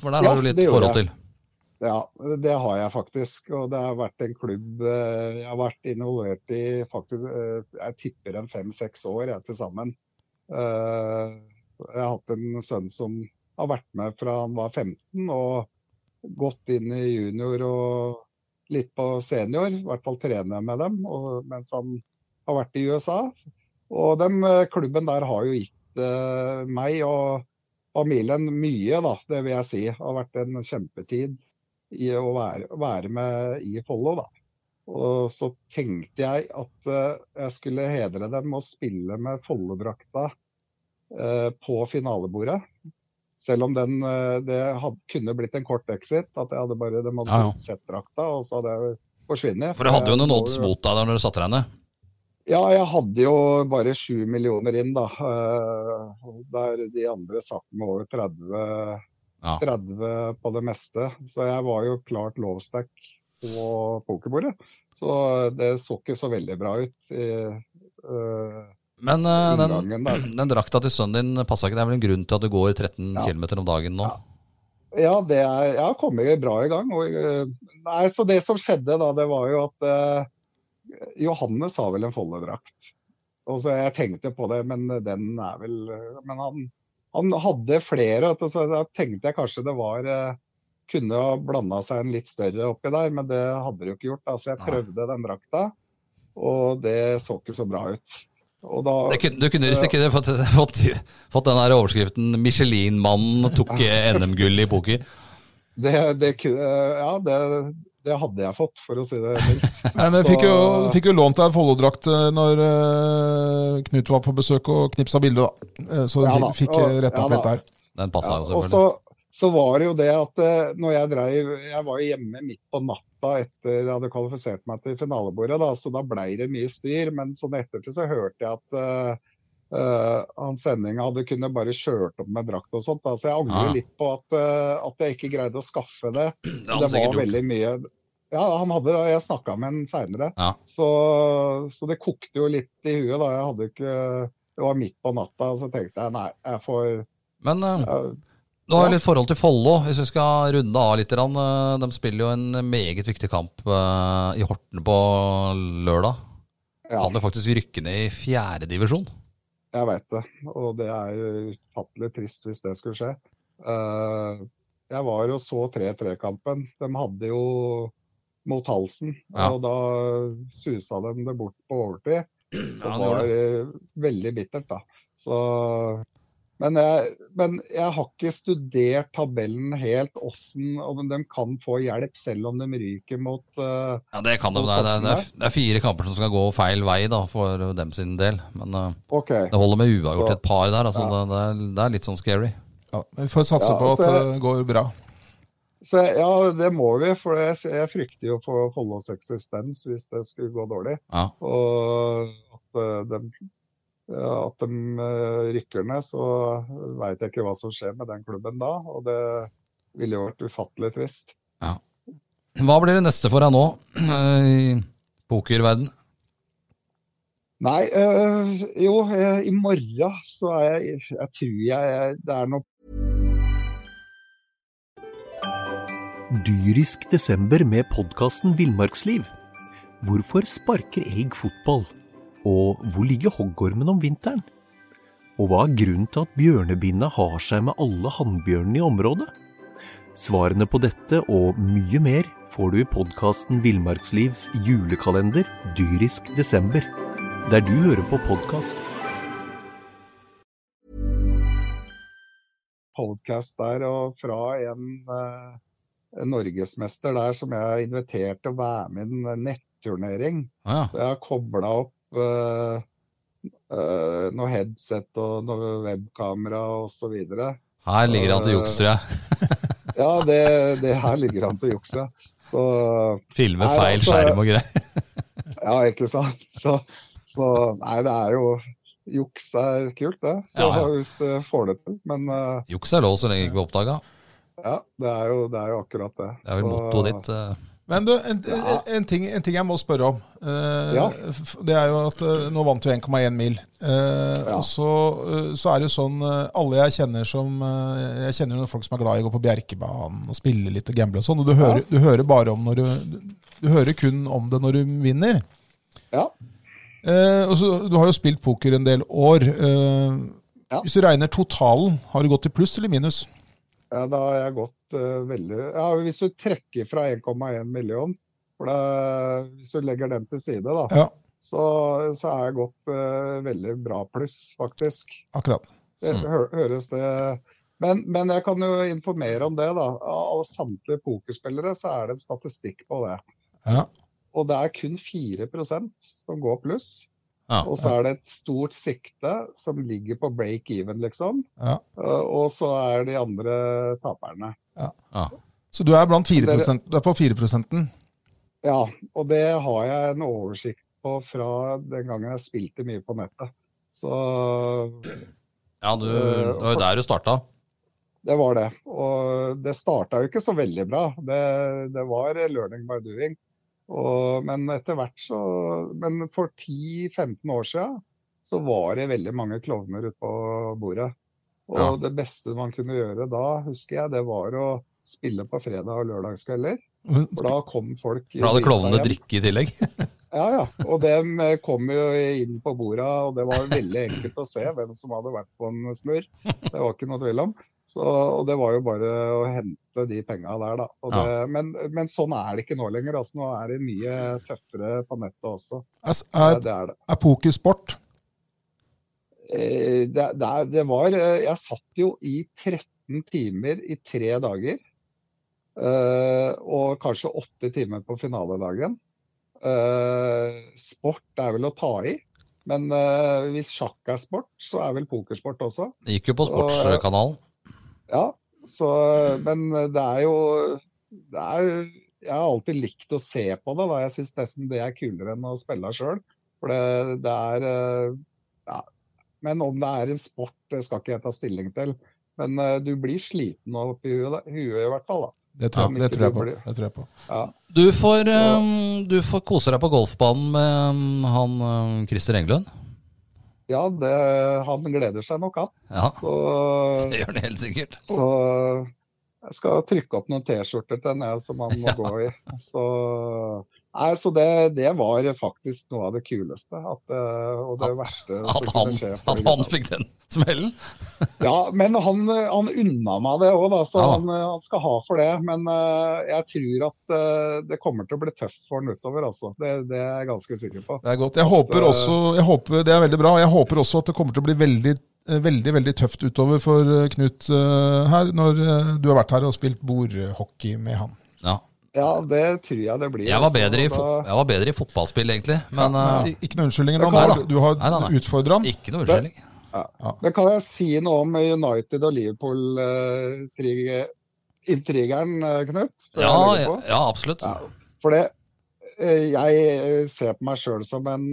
Speaker 1: For der har
Speaker 4: Ja,
Speaker 1: du litt
Speaker 4: det gjorde
Speaker 1: forhold
Speaker 4: jeg.
Speaker 1: til.
Speaker 4: ja, det har jeg faktisk. Og det har vært en klubb uh, jeg har vært involvert i faktisk uh, Jeg tipper en fem-seks år jeg til sammen. Uh, Jeg har hatt en sønn som har vært med fra han var 15 og gått inn i junior og litt på senior. I hvert fall trener jeg med dem og, mens han har vært i USA. Og den klubben der har jo gitt eh, meg og familien mye, da, det vil jeg si. Det har vært en kjempetid i å være, være med i Follo, da. Og så tenkte jeg at eh, jeg skulle hedre dem med å spille med Follo-drakta eh, på finalebordet. Selv om den, eh, det had, kunne blitt en kort exit. At jeg hadde bare, de hadde
Speaker 1: Ja, ja.
Speaker 4: sett drakta, og så hadde jeg forsvunnet.
Speaker 1: For du hadde jo
Speaker 4: Jeg
Speaker 1: noen
Speaker 4: må
Speaker 1: odds mot deg der når du satte deg ned.
Speaker 4: ja, jeg hadde jo bare sju millioner inn, da. eh, Der de andre satt med over 30,
Speaker 1: Ja.
Speaker 4: 30 på det meste. Så jeg var jo klart lovstack på pokerbordet. Så det så ikke så veldig bra ut i eh,
Speaker 1: Men eh, den,
Speaker 4: inngangen der.
Speaker 1: den drakta til sønnen din passa ikke. Det er vel en grunn til at du går 13
Speaker 4: Ja.
Speaker 1: km om dagen nå?
Speaker 4: Ja, det er, jeg har kommet bra i gang. Og, eh, nei, så det som skjedde da, det var jo at eh, Johannes har vel en Follo-drakt. Og så jeg tenkte på det, men den er vel eh, Men han, han hadde flere, vet du, så da tenkte jeg kanskje det var eh, Kunne ha blanda seg en litt større oppi der, men det hadde det jo ikke gjort. Da. Så jeg
Speaker 1: Nei.
Speaker 4: prøvde den drakta, og det så ikke så bra ut. Og da,
Speaker 1: Det kunne, du kunne risikere fått, fått, fått den her overskriften eh, 'Michelin-mannen tok NM-gull i poker'.
Speaker 4: Det, det, ku- eh, ja, det, det hadde jeg fått, for å si det mildt.
Speaker 2: Nei, men jeg fikk jo, fikk jo lånt deg Follo-drakt eh, når eh, Knut var på besøk og knipsa bilde, da. Eh, Så du
Speaker 4: Ja da,
Speaker 2: fikk, fikk
Speaker 4: og-
Speaker 2: retta
Speaker 4: ja
Speaker 2: opp litt
Speaker 4: da.
Speaker 2: der.
Speaker 1: Den passa
Speaker 4: Ja,
Speaker 1: jo
Speaker 4: og
Speaker 1: selvfølgelig.
Speaker 4: så, så var det jo det at eh, når jeg dreiv Jeg var jo hjemme midt på natta etter jeg hadde kvalifisert meg til finalebordet, da, så da blei det mye styr. Men sånn i ettertid så hørte jeg at eh, eh, han sendinga hadde kunnet bare kjørt opp med drakt og sånt. Da, så jeg
Speaker 1: Ah.
Speaker 4: angrer litt på at, eh, at jeg ikke greide å skaffe det.
Speaker 1: det hadde
Speaker 4: det
Speaker 1: han
Speaker 4: var
Speaker 1: sikkert gjort.
Speaker 4: veldig mye Ja, han hadde det. og Jeg snakka med han seinere.
Speaker 1: Ja.
Speaker 4: Så, så det kokte jo litt i huet, da. Jeg hadde jo ikke Det var midt på natta, så tenkte jeg nei, jeg får
Speaker 1: Men eh,
Speaker 4: jeg,
Speaker 1: du har
Speaker 4: ja.
Speaker 1: jo litt forhold til Follo, hvis vi skal runde av litt. grann. Eh, De spiller jo en meget viktig kamp eh, i Horten på lørdag.
Speaker 4: ja.
Speaker 1: Kan jo faktisk rykke ned i fjerdedivisjon.
Speaker 4: Jeg veit det, og det er ufattelig trist hvis det skulle skje. Eh, jeg var og så 3-3-kampen. De hadde jo mot halsen,
Speaker 1: Ja.
Speaker 4: og da susa de det bort på overtid.
Speaker 1: Ja,
Speaker 4: Som
Speaker 1: han gjorde
Speaker 4: var eh, veldig bittert, da. Så, men, jeg, men jeg har ikke studert tabellen helt, åssen om de kan få hjelp selv om de ryker mot eh,
Speaker 1: Ja, det kan de. Det er, det, er- det, er, det er fire kamper som skal gå feil vei da, for dem sin del. Men eh,
Speaker 4: OK.
Speaker 1: det holder med uavgjort
Speaker 4: Så-
Speaker 1: et par der. Altså, det, det, er, det er litt sånn scary.
Speaker 2: Ja, vi får satse
Speaker 4: Ja,
Speaker 2: på at
Speaker 4: så-
Speaker 2: det går bra.
Speaker 4: Så jeg- ja, det må vi, for jeg, jeg frykter jo for Follos eksistens hvis det skulle gå dårlig.
Speaker 1: Ja.
Speaker 4: Og at eh, dem- ja, at de eh, rykker ned, så veit jeg ikke hva som skjer med den klubben da. Og det ville jo vært ufattelig trist.
Speaker 1: Hva blir det neste for deg nå eh, i pokerverden?
Speaker 4: Nei, eh, jo, eh, i morgen så er jeg Jeg tror jeg, jeg Det er noe
Speaker 5: Dyrisk desember med podkasten Villmarksliv. Hvorfor sparker elg fotball? Og hvor ligger hoggormen om vinteren? Og hva er grunnen til at bjørnebinna har seg med alle hannbjørnene i området? Svarene på dette og mye mer får du i podkasten Villmarkslivs julekalender dyrisk desember, der du hører på podkast.
Speaker 4: podcast der, og fra en, eh, en norgesmester der som jeg har invitert til å være med i en netturnering.
Speaker 1: Ah, ja.
Speaker 4: Så jeg har kobla opp eh, eh, noe headset og noe webkamera osv.
Speaker 1: Her ligger det
Speaker 4: Eh,
Speaker 1: an til juks, tror jeg.
Speaker 4: Ja, det, det her ligger an til å jukse. Så
Speaker 1: Filme
Speaker 4: Nei,
Speaker 1: feil
Speaker 4: altså-
Speaker 1: skjerm og greier.
Speaker 4: ja, ikke sant. Så, så nei, det er jo Juks er kult, det. Så
Speaker 1: Ja, ja.
Speaker 4: Hvis du får det til. Men eh,
Speaker 1: Juks er lov så lenge det ikke blir oppdaga.
Speaker 4: ja, det er, jo, det er jo akkurat det.
Speaker 1: Det er vel
Speaker 4: Så-
Speaker 1: mottoet ditt. eh.
Speaker 2: Men du, en,
Speaker 4: Ja.
Speaker 2: en, ting, en ting jeg må spørre om. eh,
Speaker 4: Ja.
Speaker 2: f- Det er jo at eh, nå vant vi 1,1 mil. Eh, Og så, eh, så er det jo sånn eh, Alle jeg kjenner som eh, Jeg kjenner jo noen folk som er glad i å gå på Bjerkebanen og spille litt og gamble og sånn. Og du hører, du hører bare om når du, du hører kun om det når du vinner.
Speaker 4: Ja.
Speaker 2: Eh, og så, du har jo spilt poker en del år. Eh,
Speaker 4: Ja.
Speaker 2: Hvis du regner totalen, har du gått i pluss eller minus?
Speaker 4: Ja, da har jeg gått eh, veldig Ja, hvis du trekker fra 1,1 million, for det, hvis du legger den til side, da,
Speaker 2: Ja,
Speaker 4: så, så er jeg gått eh, veldig bra pluss, faktisk.
Speaker 2: akkurat.
Speaker 4: Det
Speaker 1: Mm.
Speaker 4: hø høres det men, men jeg kan jo informere om det, da. Av samtlige pokerspillere så er det en statistikk på det.
Speaker 2: Ja.
Speaker 4: Og det er kun 4 som går pluss.
Speaker 1: Ja.
Speaker 4: Og så er det et stort sikte som ligger på break even, liksom.
Speaker 2: Ja.
Speaker 4: Eh, Og så er de andre taperne.
Speaker 2: Så du er blant 4
Speaker 4: Dere-
Speaker 2: Du er på 4 prosenten.
Speaker 4: Ja, og det har jeg en oversikt på fra den gangen jeg spilte mye på nettet. Så
Speaker 1: Ja,
Speaker 4: Eh,
Speaker 1: du, det var jo der du starta.
Speaker 4: det var det. Og det starta jo ikke så veldig bra. Det, det var learning by doing. Og, men etter hvert så Men for 10-15 år siden så var det veldig mange klovner ute på bordet. Og
Speaker 1: Ja.
Speaker 4: det beste man kunne gjøre da, husker jeg, det var å spille på fredag- og lørdagskvelder. For da kom folk i
Speaker 1: For da hadde
Speaker 4: drita
Speaker 1: klovnene
Speaker 4: hjem.
Speaker 1: drikke i tillegg.
Speaker 4: Ja, ja. Og dem eh, kom jo inn på borda, og det var veldig enkelt å se hvem som hadde vært på en snurr. Det var ikke noe tvil om. Så, og det var jo bare å hente de penga der, da. Og det, men, men sånn er det ikke nå lenger. Altså, nå er det mye tøffere på nettet også.
Speaker 2: Er,
Speaker 4: Det,
Speaker 2: er,
Speaker 4: det er det.
Speaker 2: er poker sport?
Speaker 4: Eh, det, det, er- det var eh, Jeg satt jo i 13 timer i tre dager. Eh, og kanskje åtte timer på finalelagen. Eh, sport er vel å ta i. Men eh, hvis sjakk er sport, så er vel pokersport også.
Speaker 1: Det gikk jo på
Speaker 4: Så, eh,
Speaker 1: sportskanalen.
Speaker 4: Ja, så, men det er jo det er, jo- Jeg har alltid likt å se på det. Da. Jeg syns nesten det er kulere enn å spille sjøl. For det, det er eh, ja. Men om det er en sport, det skal ikke jeg ta stilling til. Men eh, du blir sliten oppi huet, da- huet i hvert fall. da.
Speaker 2: Det tror, jeg,
Speaker 4: Ja.
Speaker 2: det, tror jeg på, det tror jeg på.
Speaker 1: Du får, eh, du får kose deg på golfbanen med eh, han eh, Christer Englund.
Speaker 4: Ja, det, han gleder seg nok, han.
Speaker 1: Ja,
Speaker 4: Så,
Speaker 1: det gjør han helt sikkert.
Speaker 4: så jeg skal trykke opp noen T-skjorter til henne som han må gå i. Så, nei, så det, det var faktisk noe av det kuleste at, eh, og det verste som
Speaker 1: At han,
Speaker 4: kunne skje. for
Speaker 1: at
Speaker 4: gutta.
Speaker 1: han fikk den smellen.
Speaker 4: Ja, men han, han unna meg det òg, så
Speaker 1: Ja.
Speaker 4: han, eh, han skal ha for det. Men eh, jeg tror at eh, det kommer til å bli tøft for han utover, altså. Det, det er jeg ganske sikker på.
Speaker 2: Det er godt. Jeg håper også, jeg håper, det er veldig bra. og Jeg håper også at det kommer til å bli veldig, eh, veldig veldig tøft utover for eh, Knut eh, her, når eh, du har vært her og spilt bordhockey med han.
Speaker 1: Ja.
Speaker 4: Ja, det tror jeg det blir.
Speaker 1: Jeg var
Speaker 4: altså,
Speaker 1: bedre i,
Speaker 4: og
Speaker 1: fo
Speaker 4: da-
Speaker 1: jeg var bedre i fotballspill, egentlig. Men eh,
Speaker 2: I- Ikke noen unnskyldninger,
Speaker 4: Det
Speaker 2: men
Speaker 4: kan-
Speaker 2: har- du har
Speaker 1: Nei, nei, nei.
Speaker 2: utfordra han.
Speaker 1: ikke noe unnskyldning.
Speaker 4: Men kan jeg si noe om United og eh, Liverpool-intrigeren, eh, Knut? Det
Speaker 1: Ja,
Speaker 4: jeg lurer på.
Speaker 1: ja, absolutt.
Speaker 4: Ja. For det, eh, jeg eh, ser på meg sjøl som en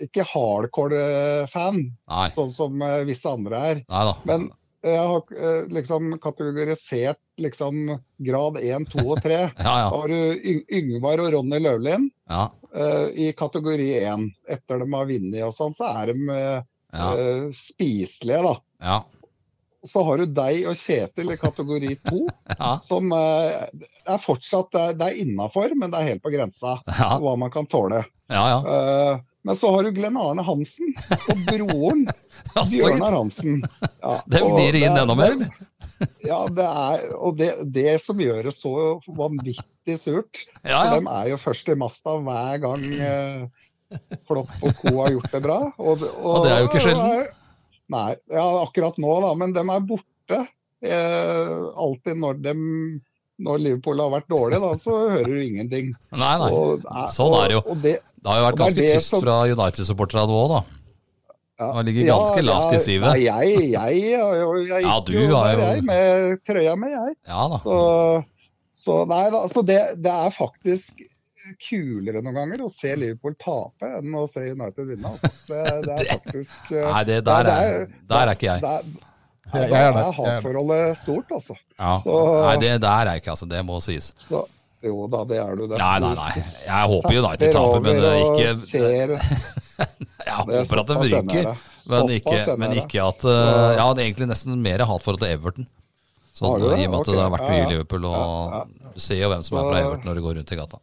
Speaker 4: eh, ikke hardcore-fan,
Speaker 1: Nei,
Speaker 4: sånn som eh, visse andre er.
Speaker 1: nei da.
Speaker 4: Men jeg har eh, liksom kategorisert liksom grad 1, 2 og 3.
Speaker 1: Ja,
Speaker 4: Da
Speaker 1: ja.
Speaker 4: har du Yng- Yngvar og Ronny Løvlin
Speaker 1: ja,
Speaker 4: eh, i kategori 1. Etter de har vunnet og sånn, så er de eh,
Speaker 1: ja,
Speaker 4: eh, spiselige, da.
Speaker 1: ja,
Speaker 4: Så har du deg og Kjetil i kategori 2,
Speaker 1: ja,
Speaker 4: som eh, er fortsatt det er- det er innafor, men det er helt på grensa
Speaker 1: ja,
Speaker 4: hva man kan tåle.
Speaker 1: ja, ja.
Speaker 4: Eh, men så har du Glenn Arne Hansen og broren
Speaker 1: Ja, så gitt.
Speaker 4: Bjørnar Hansen. Ja,
Speaker 1: Det
Speaker 4: og
Speaker 1: gnir inn
Speaker 4: er-
Speaker 1: enda mer, eller?
Speaker 4: Ja, det er, og det, det som gjør det så vanvittig surt,
Speaker 1: Ja, ja.
Speaker 4: for de er jo først i masta hver gang eh, Klopp og co. har gjort det bra. Og,
Speaker 1: Og det er jo ikke sjelden.
Speaker 4: Nei, ja, akkurat nå da, men de er borte. Eh, alltid når, de, når Liverpool har vært dårlig, da, så hører du ingenting.
Speaker 1: Nei, nei.
Speaker 4: Og-
Speaker 1: Sånn er det jo.
Speaker 4: og- Og det,
Speaker 1: Det har jo vært
Speaker 4: og det sånn- er
Speaker 1: ganske
Speaker 4: det
Speaker 1: tyst
Speaker 4: som-
Speaker 1: fra United-supporterne nå òg, da.
Speaker 4: Ja.
Speaker 1: Han ligger ganske lavt i
Speaker 4: ja,
Speaker 1: sivet.
Speaker 4: Nei, jeg, jeg, jeg, jeg
Speaker 1: Ja,
Speaker 4: gikk
Speaker 1: du
Speaker 4: jo
Speaker 1: har
Speaker 4: der,
Speaker 1: jo-
Speaker 4: jeg, med trøya mi, jeg.
Speaker 1: Ja da.
Speaker 4: Så, så nei da, så det, det er faktisk kulere noen ganger å se Liverpool tape enn å se United vinne. Altså. Det, det er faktisk eh,
Speaker 1: Nei, det der
Speaker 4: det
Speaker 1: er,
Speaker 4: er-
Speaker 1: der er ikke jeg.
Speaker 4: det er,
Speaker 2: Jeg- jeg
Speaker 4: det
Speaker 2: er
Speaker 4: er
Speaker 2: der, jeg er der.
Speaker 4: hatforholdet stort, altså.
Speaker 1: Ja.
Speaker 4: så-
Speaker 1: Nei, det der er jeg ikke, altså. Det må sies.
Speaker 4: Så, jo da, det er du. Det.
Speaker 1: Nei, nei, nei. Jeg håper United taper, men eh, ikke Jeg håper at de ryker. Men ikke, men ikke at eh,
Speaker 4: Så-
Speaker 1: Jeg hadde egentlig nesten mer hatforhold til Everton. Sånn,
Speaker 4: Har du det?
Speaker 1: I og med at
Speaker 4: Ok,
Speaker 1: det har vært
Speaker 4: ja,
Speaker 1: mye i
Speaker 4: ja.
Speaker 1: Liverpool, og
Speaker 4: Ja,
Speaker 1: du ser jo hvem som er fra
Speaker 4: Så-
Speaker 1: Everton når du går rundt i gata.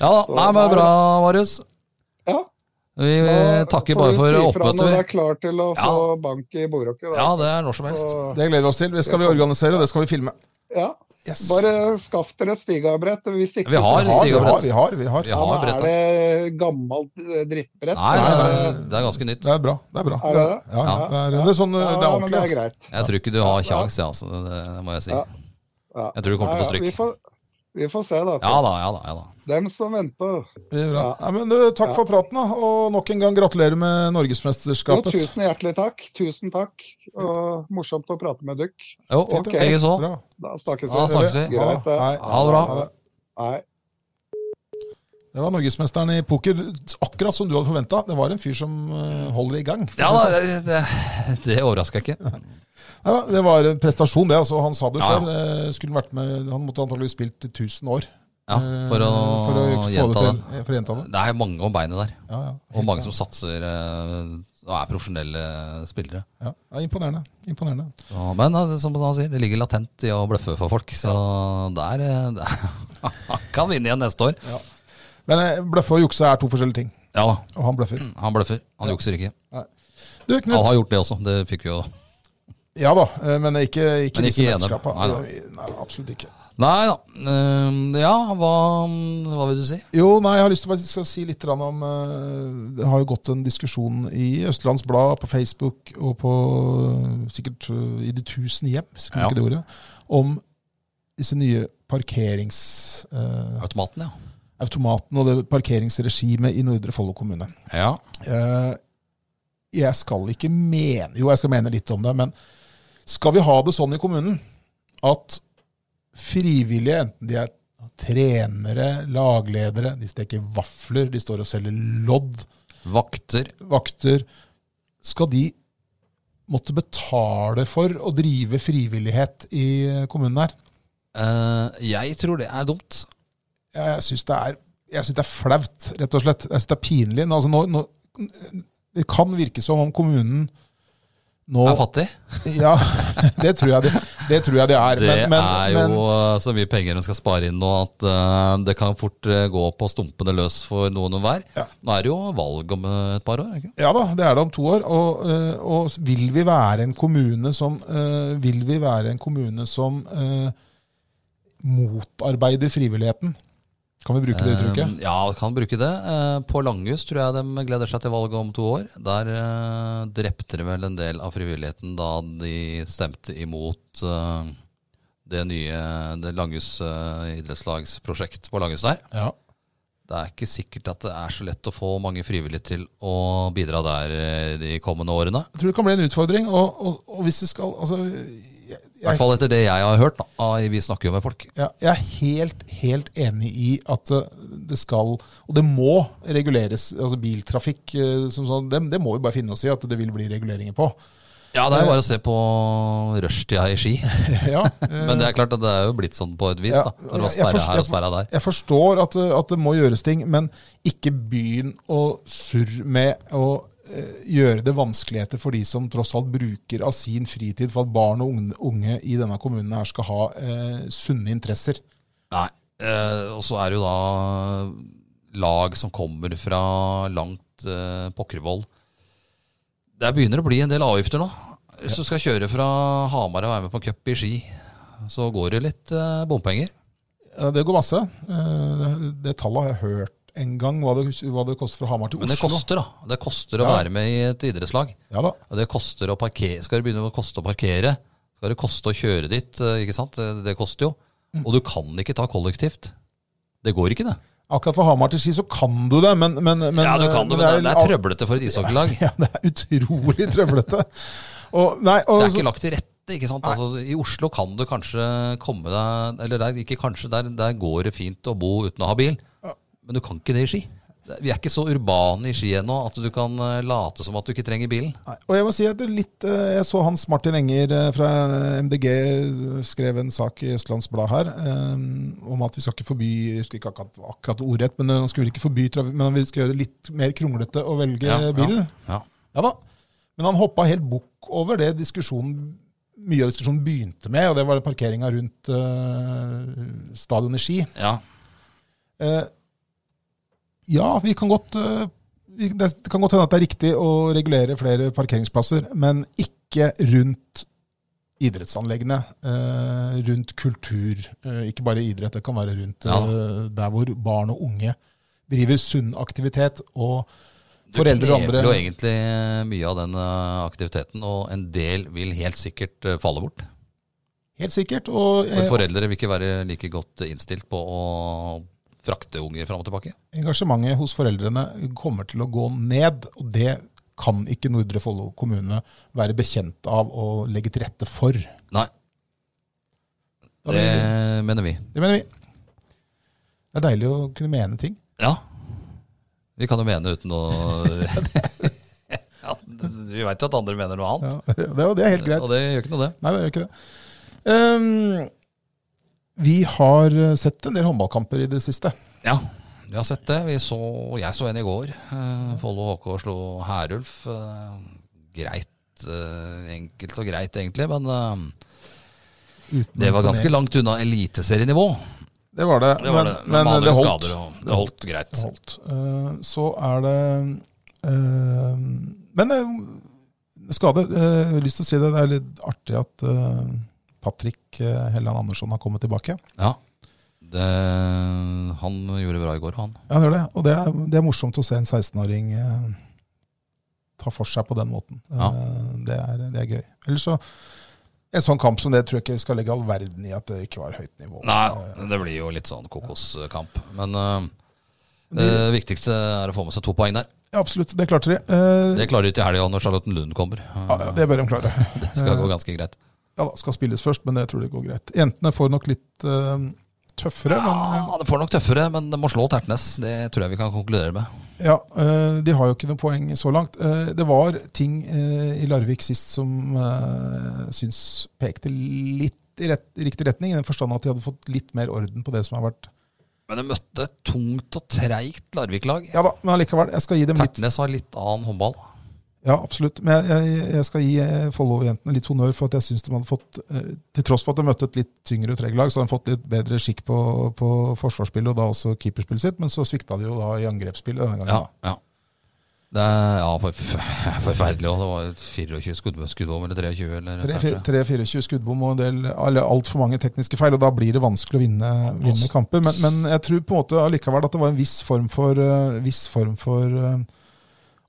Speaker 1: Ja da,
Speaker 4: Så-
Speaker 1: nei, men
Speaker 4: nei,
Speaker 1: bra, Marius.
Speaker 4: Ja,
Speaker 1: Vi eh,
Speaker 4: da
Speaker 1: takker
Speaker 4: får
Speaker 1: bare
Speaker 4: du
Speaker 1: for
Speaker 4: si fra
Speaker 1: oppmøtet.
Speaker 4: Når du
Speaker 1: vi.
Speaker 4: er klar til å
Speaker 1: Ja.
Speaker 4: få bank i bordhockey.
Speaker 1: Ja, det er når som helst.
Speaker 4: Så-
Speaker 2: Det gleder vi oss til. Det skal vi organisere, og det skal vi filme.
Speaker 4: ja.
Speaker 2: Yes.
Speaker 4: Bare skaff dere et stigabrett. Hvis ikke,
Speaker 1: Vi har
Speaker 4: så-
Speaker 2: Vi har, vi
Speaker 1: Stiger
Speaker 2: har,
Speaker 1: brett.
Speaker 2: vi har. Vi har.
Speaker 1: Vi har
Speaker 4: ja, men
Speaker 1: bretta.
Speaker 4: er det gammelt eh, drittbrett? Eh,
Speaker 1: Nei,
Speaker 4: Er
Speaker 1: nei,
Speaker 4: det-
Speaker 1: nei, det er ganske nytt.
Speaker 2: Det er bra. Det er bra.
Speaker 4: Er det det?
Speaker 2: Ja, ja, det er, det er sånn,
Speaker 4: Ja,
Speaker 2: det er
Speaker 4: ja, men det er
Speaker 2: ordentlig.
Speaker 4: greit.
Speaker 1: Jeg tror ikke du har kjangs, jeg, altså. Det, det må jeg si.
Speaker 4: Ja. Ja.
Speaker 1: Jeg tror du kommer til å få
Speaker 4: Ja, ja, Vi
Speaker 1: stryk.
Speaker 4: får, vi får se, da.
Speaker 1: Ja da, ja da. ja da.
Speaker 4: Dem som venter.
Speaker 2: Det er bra.
Speaker 4: Ja.
Speaker 2: Nei, men, du, takk for praten, da. og nok en gang gratulerer med
Speaker 4: Jo,
Speaker 2: norgesmesterskapet.
Speaker 4: tusen hjertelig takk. Tusen takk. Og morsomt å prate med dere.
Speaker 1: Jo,
Speaker 4: Ok.
Speaker 1: jeg så.
Speaker 2: Bra.
Speaker 4: Da snakkes
Speaker 1: Da snakkes vi.
Speaker 4: Greit, det.
Speaker 2: Hei.
Speaker 1: Ha det bra.
Speaker 2: Ha det.
Speaker 4: Nei.
Speaker 2: Det var norgesmesteren i poker, akkurat som du hadde forventa. Det var en fyr som eh, holder i gang. for å
Speaker 1: Ja
Speaker 2: si det
Speaker 1: da,
Speaker 2: sånn.
Speaker 1: det, det, det overrasker jeg ikke.
Speaker 2: Nei, da, det var en prestasjon, det. altså, Han sa det
Speaker 1: Ja, ja.
Speaker 2: sjøl. Eh, skulle vært med- Han måtte antakeligvis spilt i 1000 år
Speaker 1: Ja, for å,
Speaker 2: eh, for å
Speaker 1: gjenta
Speaker 2: få det
Speaker 1: det.
Speaker 2: til. eh, For å gjenta det.
Speaker 1: Det er mange om beinet der,
Speaker 2: Ja, ja.
Speaker 1: og mange som satser eh, og er profesjonelle spillere.
Speaker 2: ja. ja imponerende. imponerende.
Speaker 1: Ja, men eh, som han sier, det ligger latent i å bløffe for folk, så der, eh, der Han kan vinne igjen neste år.
Speaker 2: Men eh, bløffe og jukse er to forskjellige ting.
Speaker 1: Ja da,
Speaker 2: Og han bløffer.
Speaker 1: han bløffer. Han jukser ikke.
Speaker 2: Du, Knut.
Speaker 1: Han har gjort det også, det fikk vi jo.
Speaker 2: Ja da, eh, men ikke, ikke
Speaker 1: Men
Speaker 2: disse
Speaker 1: ikke gjennom.
Speaker 2: mesterskapene.
Speaker 1: Nei, nei.
Speaker 2: Nei, absolutt ikke.
Speaker 1: Nei da. eh, Ja, hva, hva vil du si?
Speaker 2: Jo, nei, jeg har lyst til å bare skal si litt grann om eh, Det har jo gått en diskusjon i Østlands Blad, på Facebook og på eh, sikkert eh, i de tusen hjem, hvis jeg ikke
Speaker 1: Ja.
Speaker 2: bruker det ordet, om disse nye parkeringsautomatene
Speaker 1: Automaten, ja.
Speaker 2: og det parkeringsregimet i Nordre Follo kommune.
Speaker 1: Ja,
Speaker 2: Eh, jeg skal ikke mene Jo, jeg skal mene litt om det, men skal vi ha det sånn i kommunen at frivillige, enten de er trenere, lagledere, de steker vafler, de står og selger lodd,
Speaker 1: Vakter.
Speaker 2: vakter Skal de måtte betale for å drive frivillighet i kommunen her?
Speaker 1: Eh, jeg tror det er dumt.
Speaker 2: Jeg, jeg syns det, er- jeg synes det er flaut, rett og slett. Jeg syns det er pinlig. Nå, altså, nå, nå, det kan virke som om kommunen nå
Speaker 1: Jeg er fattig.
Speaker 2: Ja, det tror jeg det, det, tror jeg det er.
Speaker 1: Det
Speaker 2: men, men,
Speaker 1: er jo eh, så mye penger en skal spare inn nå at eh, det kan fort eh, gå på stumpene løs for noen og hver.
Speaker 2: Ja.
Speaker 1: Nå er det jo valg om eh, et par år. er det Ikke?
Speaker 2: men, Ja da, det er det om to år. Og, eh, og vil vi være en kommune som eh, Vil vi være en kommune som eh, motarbeider frivilligheten? Kan vi bruke det uttrykket?
Speaker 1: Eh, ja, kan bruke det. Eh, på Langhus tror jeg de gleder seg til valget om to år. Der eh, drepte de vel en del av frivilligheten da de stemte imot eh, det nye det Langhus eh, idrettslagsprosjekt på Langhus der.
Speaker 2: Ja.
Speaker 1: Det er ikke sikkert at det er så lett å få mange frivillige til å bidra der eh, de kommende årene.
Speaker 2: Jeg tror det kan bli en utfordring. Og, og, og hvis vi skal altså, jeg,
Speaker 1: I hvert fall etter det jeg har hørt. Da. Ah, Vi snakker jo med folk.
Speaker 2: ja, jeg er helt, helt enig i at eh, det skal, og det må reguleres. altså Biltrafikk eh, som sånn, det, det må vi bare finne oss i at det vil bli reguleringer på.
Speaker 1: Ja, Det er jo bare å se på rushtida i Ski.
Speaker 2: Ja, eh,
Speaker 1: Men det er klart at det er jo blitt sånn på et vis.
Speaker 2: Ja,
Speaker 1: da. Når det var
Speaker 2: jeg
Speaker 1: sperre
Speaker 2: forstår-
Speaker 1: her og sperre der.
Speaker 2: Jeg forstår at, det- at det må gjøres ting, men ikke begynn å surre med å eh, gjøre det vanskeligheter for de som tross alt bruker av sin fritid for at barn og unge, unge i denne kommunen her skal ha eh, sunne interesser.
Speaker 1: Nei. Eh, og så er det jo da lag som kommer fra langt eh, Pokkervoll. Der begynner det å bli en del avgifter nå. Hvis du skal kjøre fra Hamar og være med på en cup i Ski, så går det litt eh, bompenger.
Speaker 2: Ja, Det går masse. Eh, det tallet har jeg hørt en gang, hva det, hva det koster fra Hamar til
Speaker 1: Men det
Speaker 2: Oslo.
Speaker 1: koster, da. Det koster å
Speaker 2: Ja.
Speaker 1: være med i et idrettslag.
Speaker 2: Ja da.
Speaker 1: Og det koster å parkere. Skal det begynne å koste å parkere, skal det koste å kjøre dit. eh, ikke sant? Det, det koster jo. Og du kan ikke ta kollektivt. Det går ikke, det.
Speaker 2: Akkurat fra Hamar til Ski så kan du det, men, men, men eh,
Speaker 1: ja, du kan det, men det er, det er trøblete for et ishockeylag.
Speaker 2: Ja, det er utrolig trøblete. Og, nei, og,
Speaker 1: Det er
Speaker 2: så-
Speaker 1: ikke lagt til rette. ikke sant? Altså, I Oslo kan du kanskje komme deg Eller der, ikke kanskje, der, der går det fint å bo uten å ha bil. Men du kan ikke det i Ski. Det- Vi er ikke så urbane i Ski ennå at du kan eh, late som at du ikke trenger bilen.
Speaker 2: Nei, og jeg må si at det er litt, eh, jeg så Hans Martin Enger eh, fra MDG eh, skrev en sak i Østlands Blad her eh, om at vi skal ikke forby jeg husker ikke akkurat, akkurat ordrett, men han skulle vel ikke forby trafikk, men vi skal gjøre det litt mer kronglete å velge
Speaker 1: Ja,
Speaker 2: bilen.
Speaker 1: Ja.
Speaker 2: Ja da. Men han hoppa helt bukk over det diskusjonen, mye av diskusjonen begynte med, og det var parkeringa rundt eh, stadion i Ski.
Speaker 1: ja.
Speaker 2: Eh, ja, vi kan godt eh, vi, Det kan godt hende at det er riktig å regulere flere parkeringsplasser, men ikke rundt idrettsanleggene. Eh, rundt kultur. Eh, ikke bare idrett, det kan være rundt
Speaker 1: Ja.
Speaker 2: eh, der hvor barn og unge driver sunn aktivitet. og
Speaker 1: Du
Speaker 2: Foreldre og
Speaker 1: kneler jo
Speaker 2: andre
Speaker 1: egentlig mye av den eh, aktiviteten, og en del vil helt sikkert eh, falle bort.
Speaker 2: Helt sikkert. Og eh,
Speaker 1: For foreldre vil ikke være like godt innstilt på å frakte unger fram og tilbake.
Speaker 2: engasjementet hos foreldrene kommer til å gå ned. og det kan ikke Nordre Follo kommune være bekjent av å legge til rette for.
Speaker 1: Nei,
Speaker 2: Da
Speaker 1: det
Speaker 2: vil-
Speaker 1: mener vi.
Speaker 2: Det mener vi. Det er deilig å kunne mene ting.
Speaker 1: Ja. Vi kan jo mene uten å ja, Vi veit jo at andre mener noe annet,
Speaker 2: Det, er- det er helt greit.
Speaker 1: og det gjør ikke noe, det.
Speaker 2: Nei, det gjør ikke det. Ehm, vi har eh, sett en del håndballkamper i det siste.
Speaker 1: Ja, vi har sett det. Vi så, jeg så en i går. Eh, Follo HK slo Herulf. Eh, greit, eh, enkelt og greit egentlig, men eh,
Speaker 2: Uten
Speaker 1: det var ganske
Speaker 2: imponering.
Speaker 1: langt unna eliteserienivå.
Speaker 2: Det var det,
Speaker 1: Det var det.
Speaker 2: men, men
Speaker 1: vanlige
Speaker 2: det holdt.
Speaker 1: skader, og det holdt greit.
Speaker 2: Det holdt. Eh, så er det eh, Men eh, skader. eh, jeg har lyst til å si det. Det er litt artig at eh, Patrick eh, Helland Andersson har kommet tilbake.
Speaker 1: Ja. Det, han gjorde bra i går, han.
Speaker 2: Ja, han gjør det. Og det er, det er morsomt å se en 16-åring eh, ta for seg på den måten.
Speaker 1: Ja.
Speaker 2: Eh, det, er, det er gøy. Ellers så en sånn kamp som det tror jeg ikke skal legge all verden i at det ikke var høyt nivå.
Speaker 1: Nei, det blir jo litt sånn kokoskamp. Men øh, det viktigste er å få med seg to poeng der.
Speaker 2: Ja, Eh, absolutt, det klarte de. Eh,
Speaker 1: Det klarer de til helga når Charlotten Lund kommer.
Speaker 2: ja, ja, det bør de klare.
Speaker 1: Det skal gå ganske greit.
Speaker 2: Ja da, skal spilles først, men jeg tror det går greit. Jentene får nok litt eh, tøffere, men eh,
Speaker 1: Ja, det får nok tøffere, men det må slå Tertnes. Det tror jeg vi kan konkludere med.
Speaker 2: Ja, eh, de har jo ikke noe poeng så langt. Eh, Det var ting eh, i Larvik sist som eh, syns pekte litt i rett, i riktig retning, i den forstand at de hadde fått litt mer orden på det som har vært.
Speaker 1: Men de møtte et tungt og treigt Larvik-lag.
Speaker 2: Ja da, men allikevel, jeg skal gi dem litt
Speaker 1: Tertnes har litt annen håndball.
Speaker 2: Ja, absolutt. Men jeg, jeg, jeg skal gi eh, Follo-jentene litt honnør for at jeg syns de hadde fått eh, Til tross for at de møtte et litt tyngre Treg-lag, så hadde de fått litt bedre skikk på, på forsvarsspillet og da også keeperspillet sitt, men så svikta de jo da i angrepsspillet denne gangen.
Speaker 1: Ja,
Speaker 2: da.
Speaker 1: ja. Det er ja, forf- forferdelig. Og det var 24 skudd- skuddbom, eller 23. Eller
Speaker 2: 3-24 skuddbom og en del, eller altfor mange tekniske feil, og da blir det vanskelig å vinne, vinne kamper. Men, men jeg tror på en måte allikevel at det var en viss form for, eh, viss form for eh,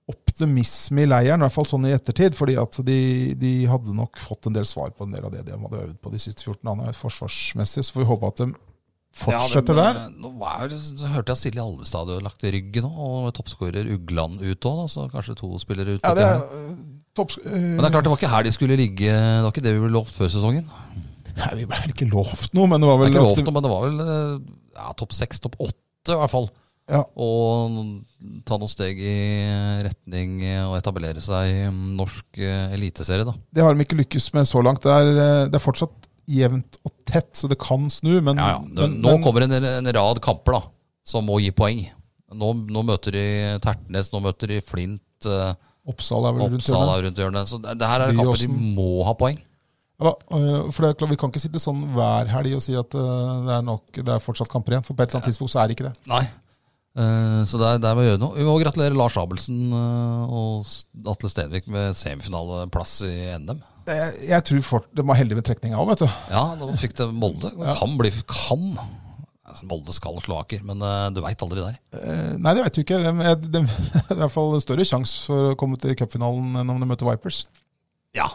Speaker 2: optimisme i leiren, i hvert fall sånn i ettertid. fordi at de, de hadde nok fått en del svar på en del av det de hadde øvd på de siste 14 dagene forsvarsmessig. Så får vi håpe at de fortsetter
Speaker 1: ja,
Speaker 2: der.
Speaker 1: men, eh, Nå var, det- så hørte jeg Silje Alvestad hadde lagt ryggen nå, og toppskårer Ugland ut òg, så kanskje to spillere ut.
Speaker 2: Ja, det
Speaker 1: etter
Speaker 2: er,
Speaker 1: henne.
Speaker 2: eh, topp, eh,
Speaker 1: men det er klart, det var ikke her de skulle ligge. Det var ikke det vi ble lovt før sesongen.
Speaker 2: nei, vi ble vel ikke lovt noe, men det var
Speaker 1: Det er
Speaker 2: vel
Speaker 1: ikke
Speaker 2: at de-
Speaker 1: lovt noe, men det var vel eh, ja, topp seks, topp åtte i hvert fall.
Speaker 2: Ja.
Speaker 1: Og ta noen steg i retning eh, å etablere seg i mm, norsk eh, eliteserie, da.
Speaker 2: Det har de ikke lykkes med så langt. Det er, eh, det er fortsatt jevnt og tett, så det kan snu. Men,
Speaker 1: Ja, ja. Nå,
Speaker 2: men,
Speaker 1: nå
Speaker 2: men-
Speaker 1: kommer en, en rad kamper da, som må gi poeng. Nå, nå møter de Tertnes, nå møter de Flint, eh,
Speaker 2: Oppsal er vel rundt
Speaker 1: Oppsal
Speaker 2: hjørnet.
Speaker 1: er rundt hjørnet. Så det, det her er kamper de
Speaker 2: Byåsen.
Speaker 1: må ha poeng.
Speaker 2: Ja, da, eh, for det er klart, Vi kan ikke sitte sånn hver helg og si at eh, det er, nok, det er fortsatt kamper igjen. For på et eller annet tidspunkt så er det ikke det.
Speaker 1: Nei. Eh, så der, der må vi gjøre noe. Vi må gratulere Lars Abelsen eh, og S- Atle Stenvik med semifinaleplass i NM.
Speaker 2: Jeg, Eh, jeg tror fort, De var heldige med trekninga òg, vet du.
Speaker 1: Ja, nå fikk det Molde. Det Kan bli Kan. Altså, Molde skal slå Aker, men eh, du veit aldri der.
Speaker 2: Eh, Nei, det vet du ikke. De, de, de, det er i hvert fall større sjanse for å komme til cupfinalen enn om de møter Vipers.
Speaker 1: Ja,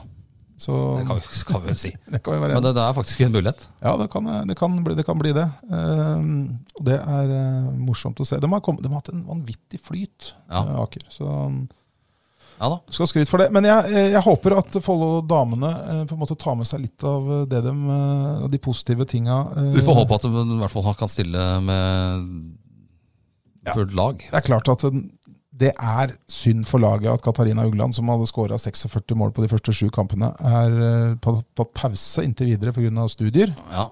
Speaker 2: Så
Speaker 1: det kan vi, kan vi vel si.
Speaker 2: det kan vi være
Speaker 1: Men
Speaker 2: enige om.
Speaker 1: det, det er faktisk en mulighet.
Speaker 2: Ja, det kan, det, kan bli, det kan bli det. Eh, og det er eh, morsomt å se. De har, kommet, de har hatt en vanvittig flyt,
Speaker 1: Ja.
Speaker 2: eh, Aker. Så
Speaker 1: Ja da.
Speaker 2: skal ha skryt for det. Men jeg, eh, jeg håper at Follo-damene eh, på en måte tar med seg litt av eh, det dem, eh, av de positive tinga. eh.
Speaker 1: Du får håpe at de i hvert fall kan stille med fullt lag.
Speaker 2: Det er klart at den- det er synd for laget at Katarina Ugland, som hadde skåra 46 mål på de første sju kampene, er eh, tatt tatt pause inntil videre pga. studier.
Speaker 1: Ja.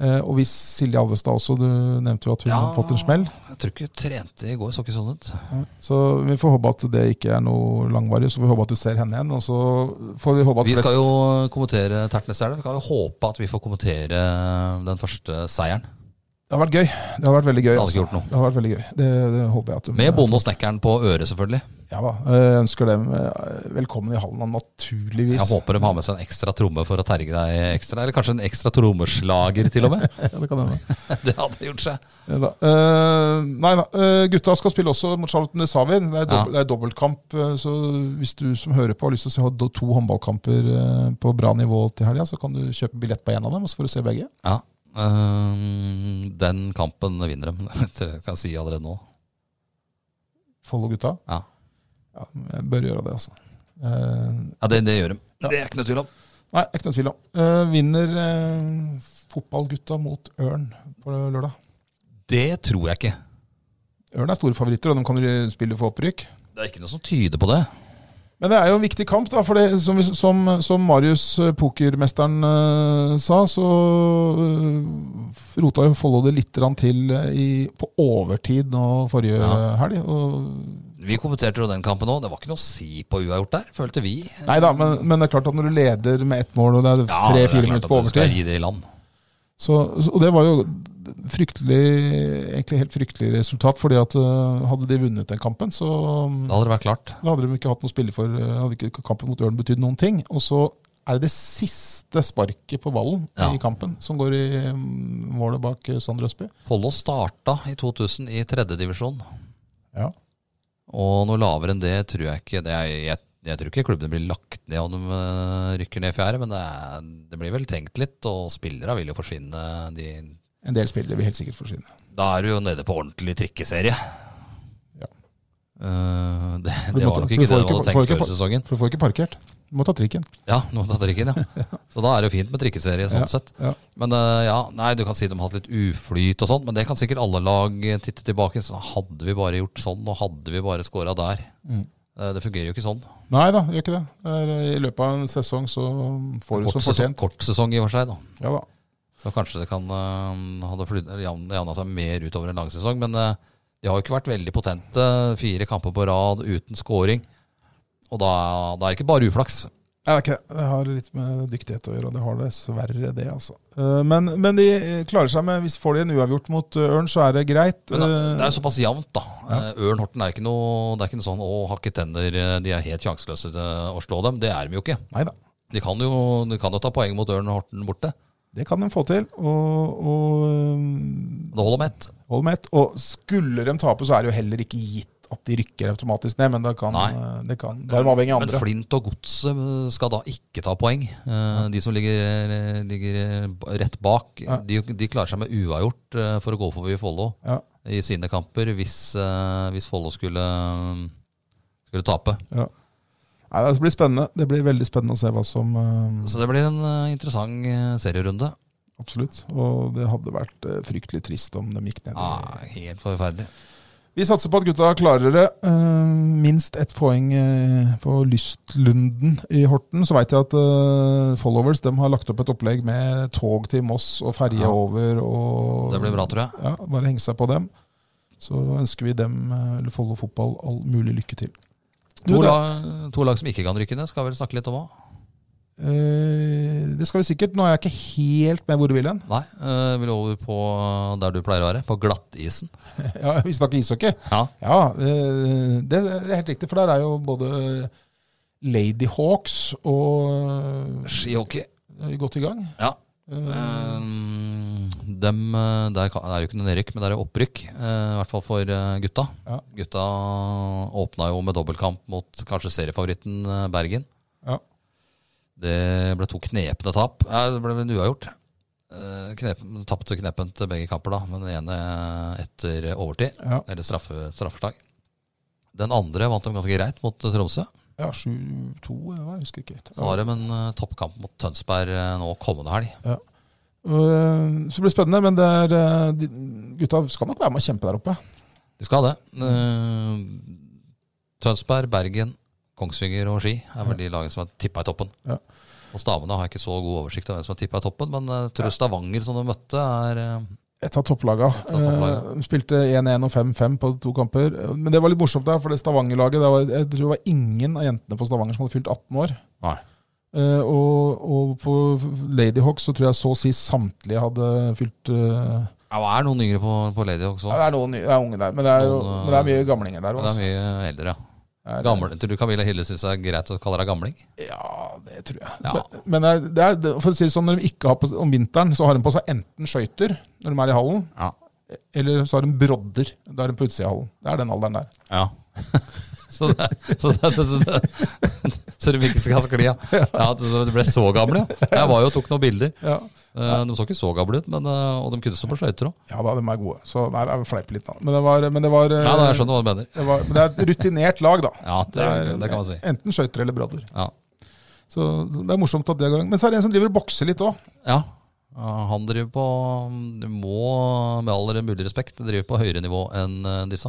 Speaker 2: Eh, Og hvis Silje Alvestad også, du nevnte jo at hun
Speaker 1: Ja.
Speaker 2: har fått en smell.
Speaker 1: Jeg tror ikke hun trente i går, så ikke sånn ut.
Speaker 2: Så vi får håpe at det ikke er noe langvarig. Så får vi håpe at du ser henne igjen. Og så får vi håpe at
Speaker 1: Vi
Speaker 2: flest-
Speaker 1: skal jo kommentere Tertnes Elv. Vi kan jo håpe at vi får kommentere den første seieren.
Speaker 2: Det hadde vært gøy. Det hadde vært veldig gøy.
Speaker 1: Det hadde ikke
Speaker 2: altså.
Speaker 1: gjort noe.
Speaker 2: Det hadde vært veldig gøy. Det, det håper jeg at du
Speaker 1: Med Bonde og Snekkeren på øret, selvfølgelig.
Speaker 2: Ja da. Jeg ønsker dem eh, velkommen i hallen, og naturligvis.
Speaker 1: Jeg håper de har med seg en ekstra tromme for å terge deg ekstra. Eller kanskje en ekstra trommeslager, til og med.
Speaker 2: Ja, det kan hende.
Speaker 1: Det hadde gjort seg.
Speaker 2: Ja da. Eh, nei da. Eh, gutta skal spille også mot Charlotten det sa vi. Det er, dobbelt, det er dobbeltkamp. eh, Så hvis du som hører på har lyst til å se do- to håndballkamper eh, på bra nivå til helga, så kan du kjøpe billett på én av dem, og så får du se begge.
Speaker 1: Ja. Øhm, Ehm, den kampen vinner de. Det kan jeg si allerede nå.
Speaker 2: Follo-gutta.
Speaker 1: Ja.
Speaker 2: Ja, jeg bør gjøre det, altså. Eh,
Speaker 1: Ja, det, det gjør de. Det er ikke noe tvil om.
Speaker 2: nei, ikke noe tvil om. Eh, vinner eh, fotballgutta mot Ørn på lørdag?
Speaker 1: Det tror jeg ikke.
Speaker 2: Ørn er store favoritter, og de kan jo spille for opprykk.
Speaker 1: Det er ikke noe som tyder på det.
Speaker 2: Men det er jo en viktig kamp, da, for det, som, vi- som, som Marius, eh, pokermesteren, eh, sa, så eh, rota jo Follo det litt grann til eh, i, på overtid nå forrige
Speaker 1: Ja.
Speaker 2: helg. Og,
Speaker 1: Vi kommenterte jo den kampen òg. Det var ikke noe å si på uavgjort der, følte vi.
Speaker 2: nei da, men, men det er klart at når du leder med ett mål, og det er
Speaker 1: det er
Speaker 2: tre-fire
Speaker 1: klart at
Speaker 2: minutter på
Speaker 1: du skal
Speaker 2: overtid
Speaker 1: gi det i land.
Speaker 2: Så, så- og det var jo fryktelig, egentlig helt fryktelig resultat, fordi at øh, hadde de vunnet den kampen, så um,
Speaker 1: Da hadde det vært klart.
Speaker 2: da hadde de ikke hatt noe å spille for. øh, Hadde ikke kampen mot Ørn betydd noen ting. Og så er det det siste sparket på ballen
Speaker 1: Ja.
Speaker 2: i kampen som går i um, målet bak øh, Sander Østby.
Speaker 1: Follo starta i 2000 i tredjedivisjon,
Speaker 2: Ja.
Speaker 1: og noe lavere enn det tror jeg ikke. Det er, jeg Jeg tror ikke klubbene blir lagt ned om de eh, rykker ned i fjerde, men det, er, det blir vel tenkt litt, og spillere vil jo forsvinne. De,
Speaker 2: En del spillere vil helt sikkert forsvinne.
Speaker 1: da er du jo nede på ordentlig trikkeserie.
Speaker 2: Ja.
Speaker 1: Eh, det,
Speaker 2: For du
Speaker 1: det
Speaker 2: måtte-
Speaker 1: var nok
Speaker 2: for
Speaker 1: ikke
Speaker 2: du får
Speaker 1: det du hadde
Speaker 2: ikke- får
Speaker 1: tenkt før
Speaker 2: ikke pa-
Speaker 1: sesongen.
Speaker 2: For du får ikke parkert. Du må ta trikken.
Speaker 1: Ja, nå tatt trikken, ja. Så da er det jo fint med trikkeserie sånn sett.
Speaker 2: Ja.
Speaker 1: Men eh, ja, nei, du kan si de har hatt litt uflyt og sånt, men det kan sikkert alle lag eh, titte tilbake. Så hadde vi bare gjort sånn, og hadde vi bare scora der.
Speaker 2: Mm.
Speaker 1: Eh, Det fungerer jo ikke sånn.
Speaker 2: Nei da, gjør ikke det. Det er- eh, I løpet av en sesong så um, får du
Speaker 1: Kort
Speaker 2: som
Speaker 1: sesong,
Speaker 2: fortjent.
Speaker 1: kort sesong i og for seg, da.
Speaker 2: Ja da.
Speaker 1: Så kanskje det kan eh, hadde flyt- eller jan- jevna seg mer utover en lang sesong. Men eh, de har jo ikke vært veldig potente. eh, Fire kamper på rad uten scoring. Og da, da er det ikke bare uflaks.
Speaker 2: Nei, det er ikke det. Det har litt med dyktighet å gjøre, og det har dessverre det, altså. Eh, Men, men de klarer seg med Hvis får de en uavgjort mot eh, Ørn, så er det greit.
Speaker 1: Men det, det
Speaker 2: Eh,
Speaker 1: er såpass jevnt, da. Eh, Ørn Horten er ikke noe, det er ikke noe sånn å hakke tenner, eh, de er helt sjanseløse til å slå dem. Det er de jo ikke.
Speaker 2: Nei da.
Speaker 1: De kan jo, de kan jo ta poeng mot Ørn Horten borte.
Speaker 2: Det kan de få til. Og, og eh,
Speaker 1: Det holder med ett.
Speaker 2: hold med ett. Og skulle de tape, så er det jo heller ikke gitt at de rykker automatisk ned, men da kan,
Speaker 1: Nei.
Speaker 2: eh, det kan, da er de avhengig av
Speaker 1: Men
Speaker 2: andre.
Speaker 1: Flint og Godset eh, skal da ikke ta poeng. Eh, De som ligger, ligger eh, rett bak,
Speaker 2: Ja.
Speaker 1: de, de klarer seg med uavgjort eh, for å gå forbi Follo
Speaker 2: Ja.
Speaker 1: i sine kamper hvis, eh, hvis Follo skulle, skulle tape.
Speaker 2: Nei, det blir spennende. Det blir veldig spennende å se hva som eh,
Speaker 1: Så det blir en eh, interessant eh, serierunde.
Speaker 2: Absolutt. Og det hadde vært eh, fryktelig trist om de gikk ned. i-
Speaker 1: Ah, helt forferdelig.
Speaker 2: Vi satser på at gutta klarer det. Eh, minst ett poeng eh, på Lystlunden i Horten. Så veit jeg at eh, followers dem har lagt opp et opplegg med tog til Moss og ferje
Speaker 1: Ja.
Speaker 2: over. Og,
Speaker 1: Det blir bra, tror jeg.
Speaker 2: Ja, bare henge seg på dem. Så ønsker vi dem, eh, eller Follo fotball, all mulig lykke til. Du,
Speaker 1: To
Speaker 2: det-
Speaker 1: lag, to lag som ikke kan rykke ned, skal vel snakke litt om òg.
Speaker 2: Eh, det skal vi sikkert. Nå er jeg ikke helt med hvor du vil hen.
Speaker 1: Nei, eh, vil over på der du pleier å være, på glattisen.
Speaker 2: Ja, vi snakker ishockey.
Speaker 1: Ja.
Speaker 2: Ja, eh, det er helt riktig, for der er jo både eh, Lady Hawks og
Speaker 1: Skihockey.
Speaker 2: eh, godt i gang.
Speaker 1: Ja.
Speaker 2: Eh,
Speaker 1: Ehm, dem, eh, der kan- det er jo ikke noe nedrykk, men det er jo opprykk. eh, I hvert fall for eh, gutta.
Speaker 2: Ja.
Speaker 1: Gutta åpna jo med dobbeltkamp mot kanskje seriefavoritten eh, Bergen.
Speaker 2: Ja.
Speaker 1: Det ble to knepne tap. Ja, det ble en uavgjort. Eh, Knepen, tapte knepent begge kamper, da, men den ene eh, etter overtid,
Speaker 2: Ja,
Speaker 1: eller straffe, straffeslag. Den andre vant de ganske greit mot eh, Tromsø.
Speaker 2: ja 7-2, det var, jeg husker ikke. helt.
Speaker 1: Så har de en eh, toppkamp mot Tønsberg eh, nå kommende helg.
Speaker 2: Eh, Så det blir spennende, men det er, eh, de- gutta skal nok være med å kjempe der oppe.
Speaker 1: De skal det. Eh, Tønsberg, Bergen, Kongsvinger og Ski er vel de lagene som er tippa i toppen.
Speaker 2: Ja.
Speaker 1: Og Stavene har jeg ikke så god oversikt over hvem som er tippa i toppen, men eh, tror jeg Stavanger som de møtte, er eh,
Speaker 2: Et av topplaga.
Speaker 1: av topplaga.
Speaker 2: Eh, de Spilte 1-1 og 5-5 på to kamper. Eh, Men det var litt morsomt der, for det Stavanger-laget det var, Jeg tror det var ingen av jentene på Stavanger som hadde fylt 18 år.
Speaker 1: Nei.
Speaker 2: Eh, og, og på Ladyhawk så tror jeg så å si samtlige hadde fylt eh,
Speaker 1: ja, Det er noen yngre på, på Lady også.
Speaker 2: ja, Det er noen det er unge der, men det er, jo,
Speaker 1: Noen, eh,
Speaker 2: men det er mye gamlinger der
Speaker 1: Men det
Speaker 2: også.
Speaker 1: er mye eldre, ja.
Speaker 2: Det er-
Speaker 1: Gammel, tror du Camilla Hille syns det er greit å kalle deg gamling?
Speaker 2: Ja, det tror jeg.
Speaker 1: Ja.
Speaker 2: Men- Men det er, det er, det- for å si det sånn, når de ikke har på, om vinteren, så har de på seg enten skøyter når de er i hallen,
Speaker 1: Ja.
Speaker 2: eller så har de brodder. Da er de på utsida av hallen. Det er den alderen der.
Speaker 1: ja. så, det, så, det, så, det, så de ikke skal skli av. Ja, så de ble så gamle, ja. Jeg var jo og tok noen bilder.
Speaker 2: Ja,
Speaker 1: Eh, De så ikke så gamle ut, men, eh, og de kunne stå på skøyter òg.
Speaker 2: ja da, de er gode. Så nei, det er fleip litt, da. Men det var, men det var, eh,
Speaker 1: Ja, da, jeg skjønner hva du mener.
Speaker 2: det var Men det er et rutinert lag, da.
Speaker 1: Ja, det, det kan man si.
Speaker 2: Enten skøyter eller brodder.
Speaker 1: Ja.
Speaker 2: Så, så det er morsomt at det går an. Men så er det en som driver og bokser litt òg.
Speaker 1: ja. Ja, Han driver på mm, du Må, med all mulig respekt, driver på høyere nivå enn eh, disse.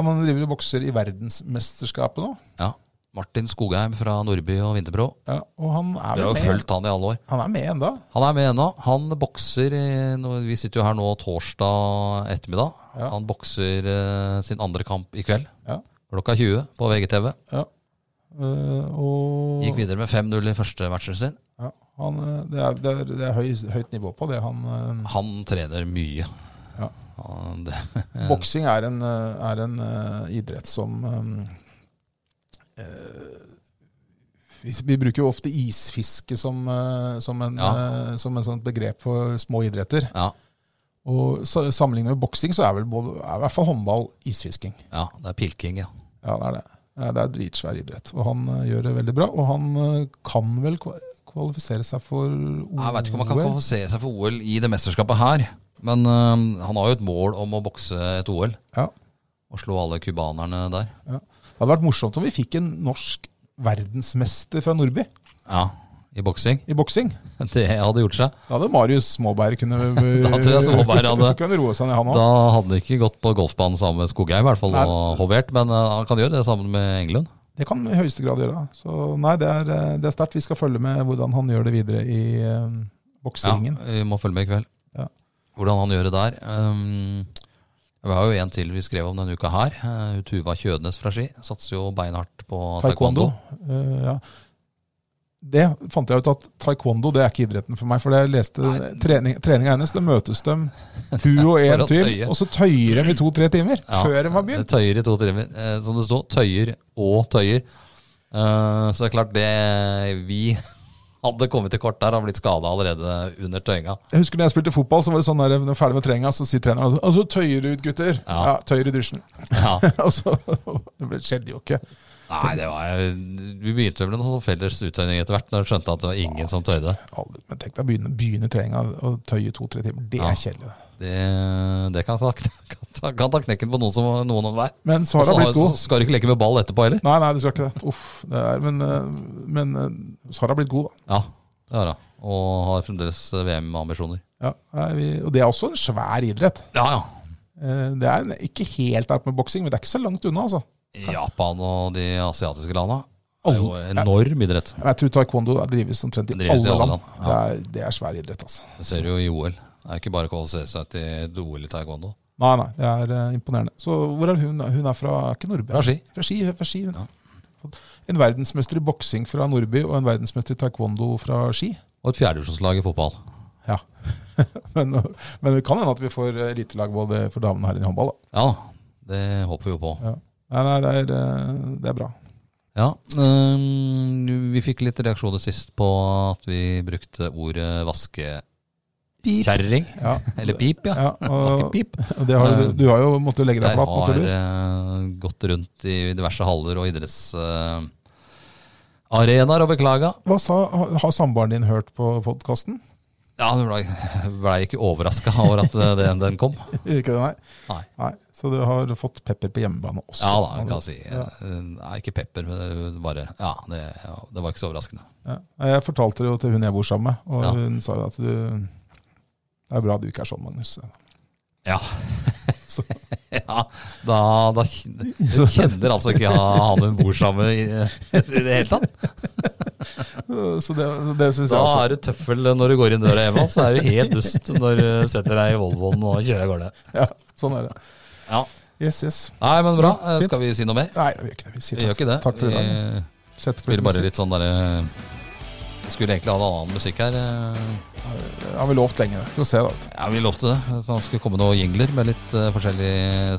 Speaker 2: Han driver og bokser i verdensmesterskapet nå.
Speaker 1: Ja. Martin Skogheim fra Nordby og Vinterbro.
Speaker 2: Ja, og han
Speaker 1: Vi
Speaker 2: er
Speaker 1: har
Speaker 2: vel
Speaker 1: jo
Speaker 2: med.
Speaker 1: fulgt han i alle år.
Speaker 2: Han er med enda.
Speaker 1: Han er med ennå. Han bokser i- nå- Vi sitter jo her nå torsdag ettermiddag.
Speaker 2: Ja.
Speaker 1: Han bokser eh, sin andre kamp i kveld.
Speaker 2: Ja.
Speaker 1: Klokka 20 på VGTV.
Speaker 2: Eh, og
Speaker 1: Gikk videre med 5-0 i første matchen sin.
Speaker 2: Ja, han, eh, det er, det er, det er høy, høyt nivå på det. Han, eh,
Speaker 1: Han trener mye.
Speaker 2: Ja.
Speaker 1: Han- det,
Speaker 2: boksing er en, eh, er en eh, idrett som eh, eh, vi, vi bruker jo ofte isfiske som, eh, som, en,
Speaker 1: Ja.
Speaker 2: eh, som en sånt begrep for små idretter.
Speaker 1: ja.
Speaker 2: Og sa- Sammenlignet med boksing så er vel både, er i hvert fall håndball isfisking.
Speaker 1: Ja, det er pilking, ja.
Speaker 2: Ja, det er det. Eh, Det er dritsvær idrett, og han eh, gjør det veldig bra. Og han eh, kan vel kva- kvalifisere seg for OL?
Speaker 1: Jeg vet ikke om han kan kvalifisere seg for OL i det mesterskapet her. Men øhm, han har jo et mål om å bokse et OL
Speaker 2: Ja.
Speaker 1: og slå alle cubanerne der.
Speaker 2: Det hadde vært morsomt om vi fikk en norsk verdensmester fra Nordby
Speaker 1: Ja, I boksing.
Speaker 2: i boksing.
Speaker 1: Det hadde gjort seg.
Speaker 2: Da hadde Marius Småberg kunne,
Speaker 1: Da tror jeg Småberg hadde-
Speaker 2: kunne roe seg ned, han
Speaker 1: Da
Speaker 2: òg.
Speaker 1: hadde han ikke gått på golfbanen sammen med Skogheim, i hvert fall,
Speaker 2: Nei.
Speaker 1: og hovert. Men øh, han kan gjøre det sammen med Englund.
Speaker 2: Det kan han i høyeste grad gjøre. Så nei, det er, eh, det er sterkt. Vi skal følge med hvordan han gjør det videre i eh,
Speaker 1: Ja,
Speaker 2: bokseringen.
Speaker 1: vi må følge med i kveld.
Speaker 2: Ja.
Speaker 1: Hvordan han gjør det der. Ehm, vi har jo en til vi skrev om denne uka her. Eh, Tuva Kjødnes fra Ski satser jo beinhardt på taekwondo.
Speaker 2: Taekwondo. eh, ja. Det fant jeg ut at taekwondo det er ikke idretten for meg. For jeg leste trening, treninga hennes, det møtes dem hun og en
Speaker 1: å
Speaker 2: til,
Speaker 1: tøye.
Speaker 2: og så tøyer de i to-tre timer
Speaker 1: Ja,
Speaker 2: før de har
Speaker 1: det
Speaker 2: begynt.
Speaker 1: Tøyer i to timer. Eh, som det sto, tøyer og tøyer. Eh, så det er klart det vi hadde kommet til kort der, har blitt skada allerede under tøyinga.
Speaker 2: Jeg husker når jeg spilte fotball, så var det sånn der, når jeg er ferdig med treninga, så sier treneren at så tøyer du ut, gutter. Ja,
Speaker 1: Ja.
Speaker 2: tøyer i dusjen.
Speaker 1: Ja.
Speaker 2: altså, det ble- skjedde jo ikke.
Speaker 1: Nei, det var Vi begynte vel med noen felles uttøyning etter hvert, når vi skjønte at det var ingen som tøyde.
Speaker 2: Aldri. Men tenk deg å begynne, begynne treninga og tøye i to-tre timer. Det
Speaker 1: Ja.
Speaker 2: er kjedelig.
Speaker 1: Det, det kan, ta, kan, ta, kan ta knekken på noen som noen om hver.
Speaker 2: Men
Speaker 1: Og
Speaker 2: så har
Speaker 1: så
Speaker 2: hun
Speaker 1: har-
Speaker 2: blitt god.
Speaker 1: så skal du ikke leke med ball etterpå heller.
Speaker 2: Nei, nei, du skal ikke det. Uff, det er, men, eh, men eh, så har hun blitt god, da.
Speaker 1: Ja, det har jeg. Og har fremdeles VM-ambisjoner.
Speaker 2: Ja, nei, vi, og det er også en svær idrett.
Speaker 1: Ja, ja.
Speaker 2: Eh, Det er en- ikke helt der med boksing, men det er ikke så langt unna. altså.
Speaker 1: Japan og de asiatiske landa. Det er jo
Speaker 2: Alle-
Speaker 1: enorm idrett.
Speaker 2: Men Jeg tror taekwondo er drives omtrent i
Speaker 1: Drives
Speaker 2: alle land.
Speaker 1: ja.
Speaker 2: Det, er, det er svær idrett, altså.
Speaker 1: Det ser du jo i OL. Det er ikke bare å kvalifisere seg til et OL i taekwondo.
Speaker 2: Nei, nei, det er eh, imponerende. Så hvor er hun? da? Hun er fra er ikke Nordby?
Speaker 1: Fra Ski.
Speaker 2: Fra Ski, fra Ski hun.
Speaker 1: Ja.
Speaker 2: En verdensmester i boksing fra Nordby og en verdensmester i taekwondo fra Ski.
Speaker 1: Og et fjerdedivisjonslag i fotball.
Speaker 2: Ja. men, men det kan hende at vi får eh, elitelag både for damene og herrene i håndball. da.
Speaker 1: Ja, det håper vi jo på.
Speaker 2: Nei, nei, det er, eh, det er bra.
Speaker 1: Ja, øhm, Vi fikk litt reaksjoner sist på at vi brukte ordet vaskekjerring.
Speaker 2: Ja.
Speaker 1: Eller pip, ja.
Speaker 2: Ja, og,
Speaker 1: Vaskepip.
Speaker 2: og det har, du- du har jo måttet legge deg
Speaker 1: Jeg
Speaker 2: flat.
Speaker 1: har
Speaker 2: naturligvis.
Speaker 1: eh, gått rundt i diverse haller og idrettsarenaer og beklaga.
Speaker 2: Hva sa, ha- Har samboeren din hørt på podkasten?
Speaker 1: Ja, Hun blei ble ikke overraska over at eh, den, den kom.
Speaker 2: Ikke det, nei.
Speaker 1: Nei.
Speaker 2: Så du har fått pepper på hjemmebane også?
Speaker 1: Ja da, man kan si.
Speaker 2: Ja.
Speaker 1: eh, Nei, ikke pepper, men bare Ja, det, ja, det var ikke så overraskende.
Speaker 2: Ja. Jeg fortalte det jo til hun jeg bor sammen med, og
Speaker 1: Ja.
Speaker 2: hun sa jo at du Det er bra du ikke er sånn, Magnus.
Speaker 1: Ja.
Speaker 2: Så-
Speaker 1: ja da, da kjen- Hun kjenner altså ikke han hun bor sammen med i, i det hele tatt.
Speaker 2: Så det, så altså- det syns jeg
Speaker 1: Da
Speaker 2: også.
Speaker 1: er du tøffel når du går inn døra hjemme, og så er du helt dust når du setter deg i Volvoen og kjører av gårde.
Speaker 2: Ja, sånn er det.
Speaker 1: Ja.
Speaker 2: Yes, yes.
Speaker 1: Nei, men bra. Eh,
Speaker 2: Fint.
Speaker 1: Skal vi si noe mer?
Speaker 2: Nei, vi gjør ikke det. Vi sier
Speaker 1: Vi gjør
Speaker 2: takk,
Speaker 1: ikke det.
Speaker 2: takk for i dag.
Speaker 1: Vi
Speaker 2: Sett på
Speaker 1: spiller bare
Speaker 2: musikk.
Speaker 1: litt sånn derre Skulle egentlig ha noe annen musikk her. eh.
Speaker 2: Har vi lovt lenge, det. Vi får se, da.
Speaker 1: Ja, Vi lovte det. At det skulle komme noen jingler med litt eh, forskjellig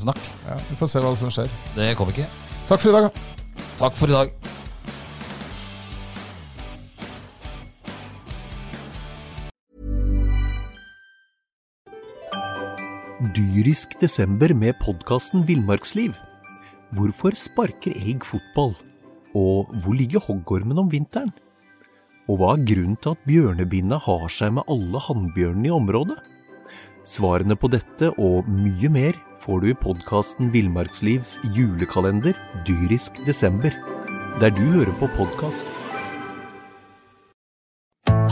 Speaker 1: snakk.
Speaker 2: Ja, vi får se hva som skjer.
Speaker 1: Det kom ikke.
Speaker 2: Takk for i dag. da.
Speaker 1: Takk for i dag.
Speaker 5: Dyrisk desember med podkasten Villmarksliv. Hvorfor sparker elg fotball? Og hvor ligger hoggormen om vinteren? Og hva er grunnen til at bjørnebinna har seg med alle hannbjørnene i området? Svarene på dette og mye mer får du i podkasten Villmarkslivs julekalender Dyrisk desember, der du hører på podkast.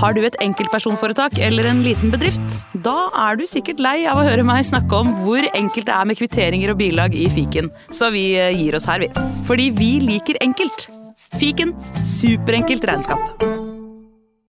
Speaker 6: Har du et enkeltpersonforetak eller en liten bedrift? Da er du sikkert lei av å høre meg snakke om hvor enkelt det er med kvitteringer og bilag i fiken, så vi eh, gir oss her, vi. Fordi vi liker enkelt. Fiken superenkelt regnskap.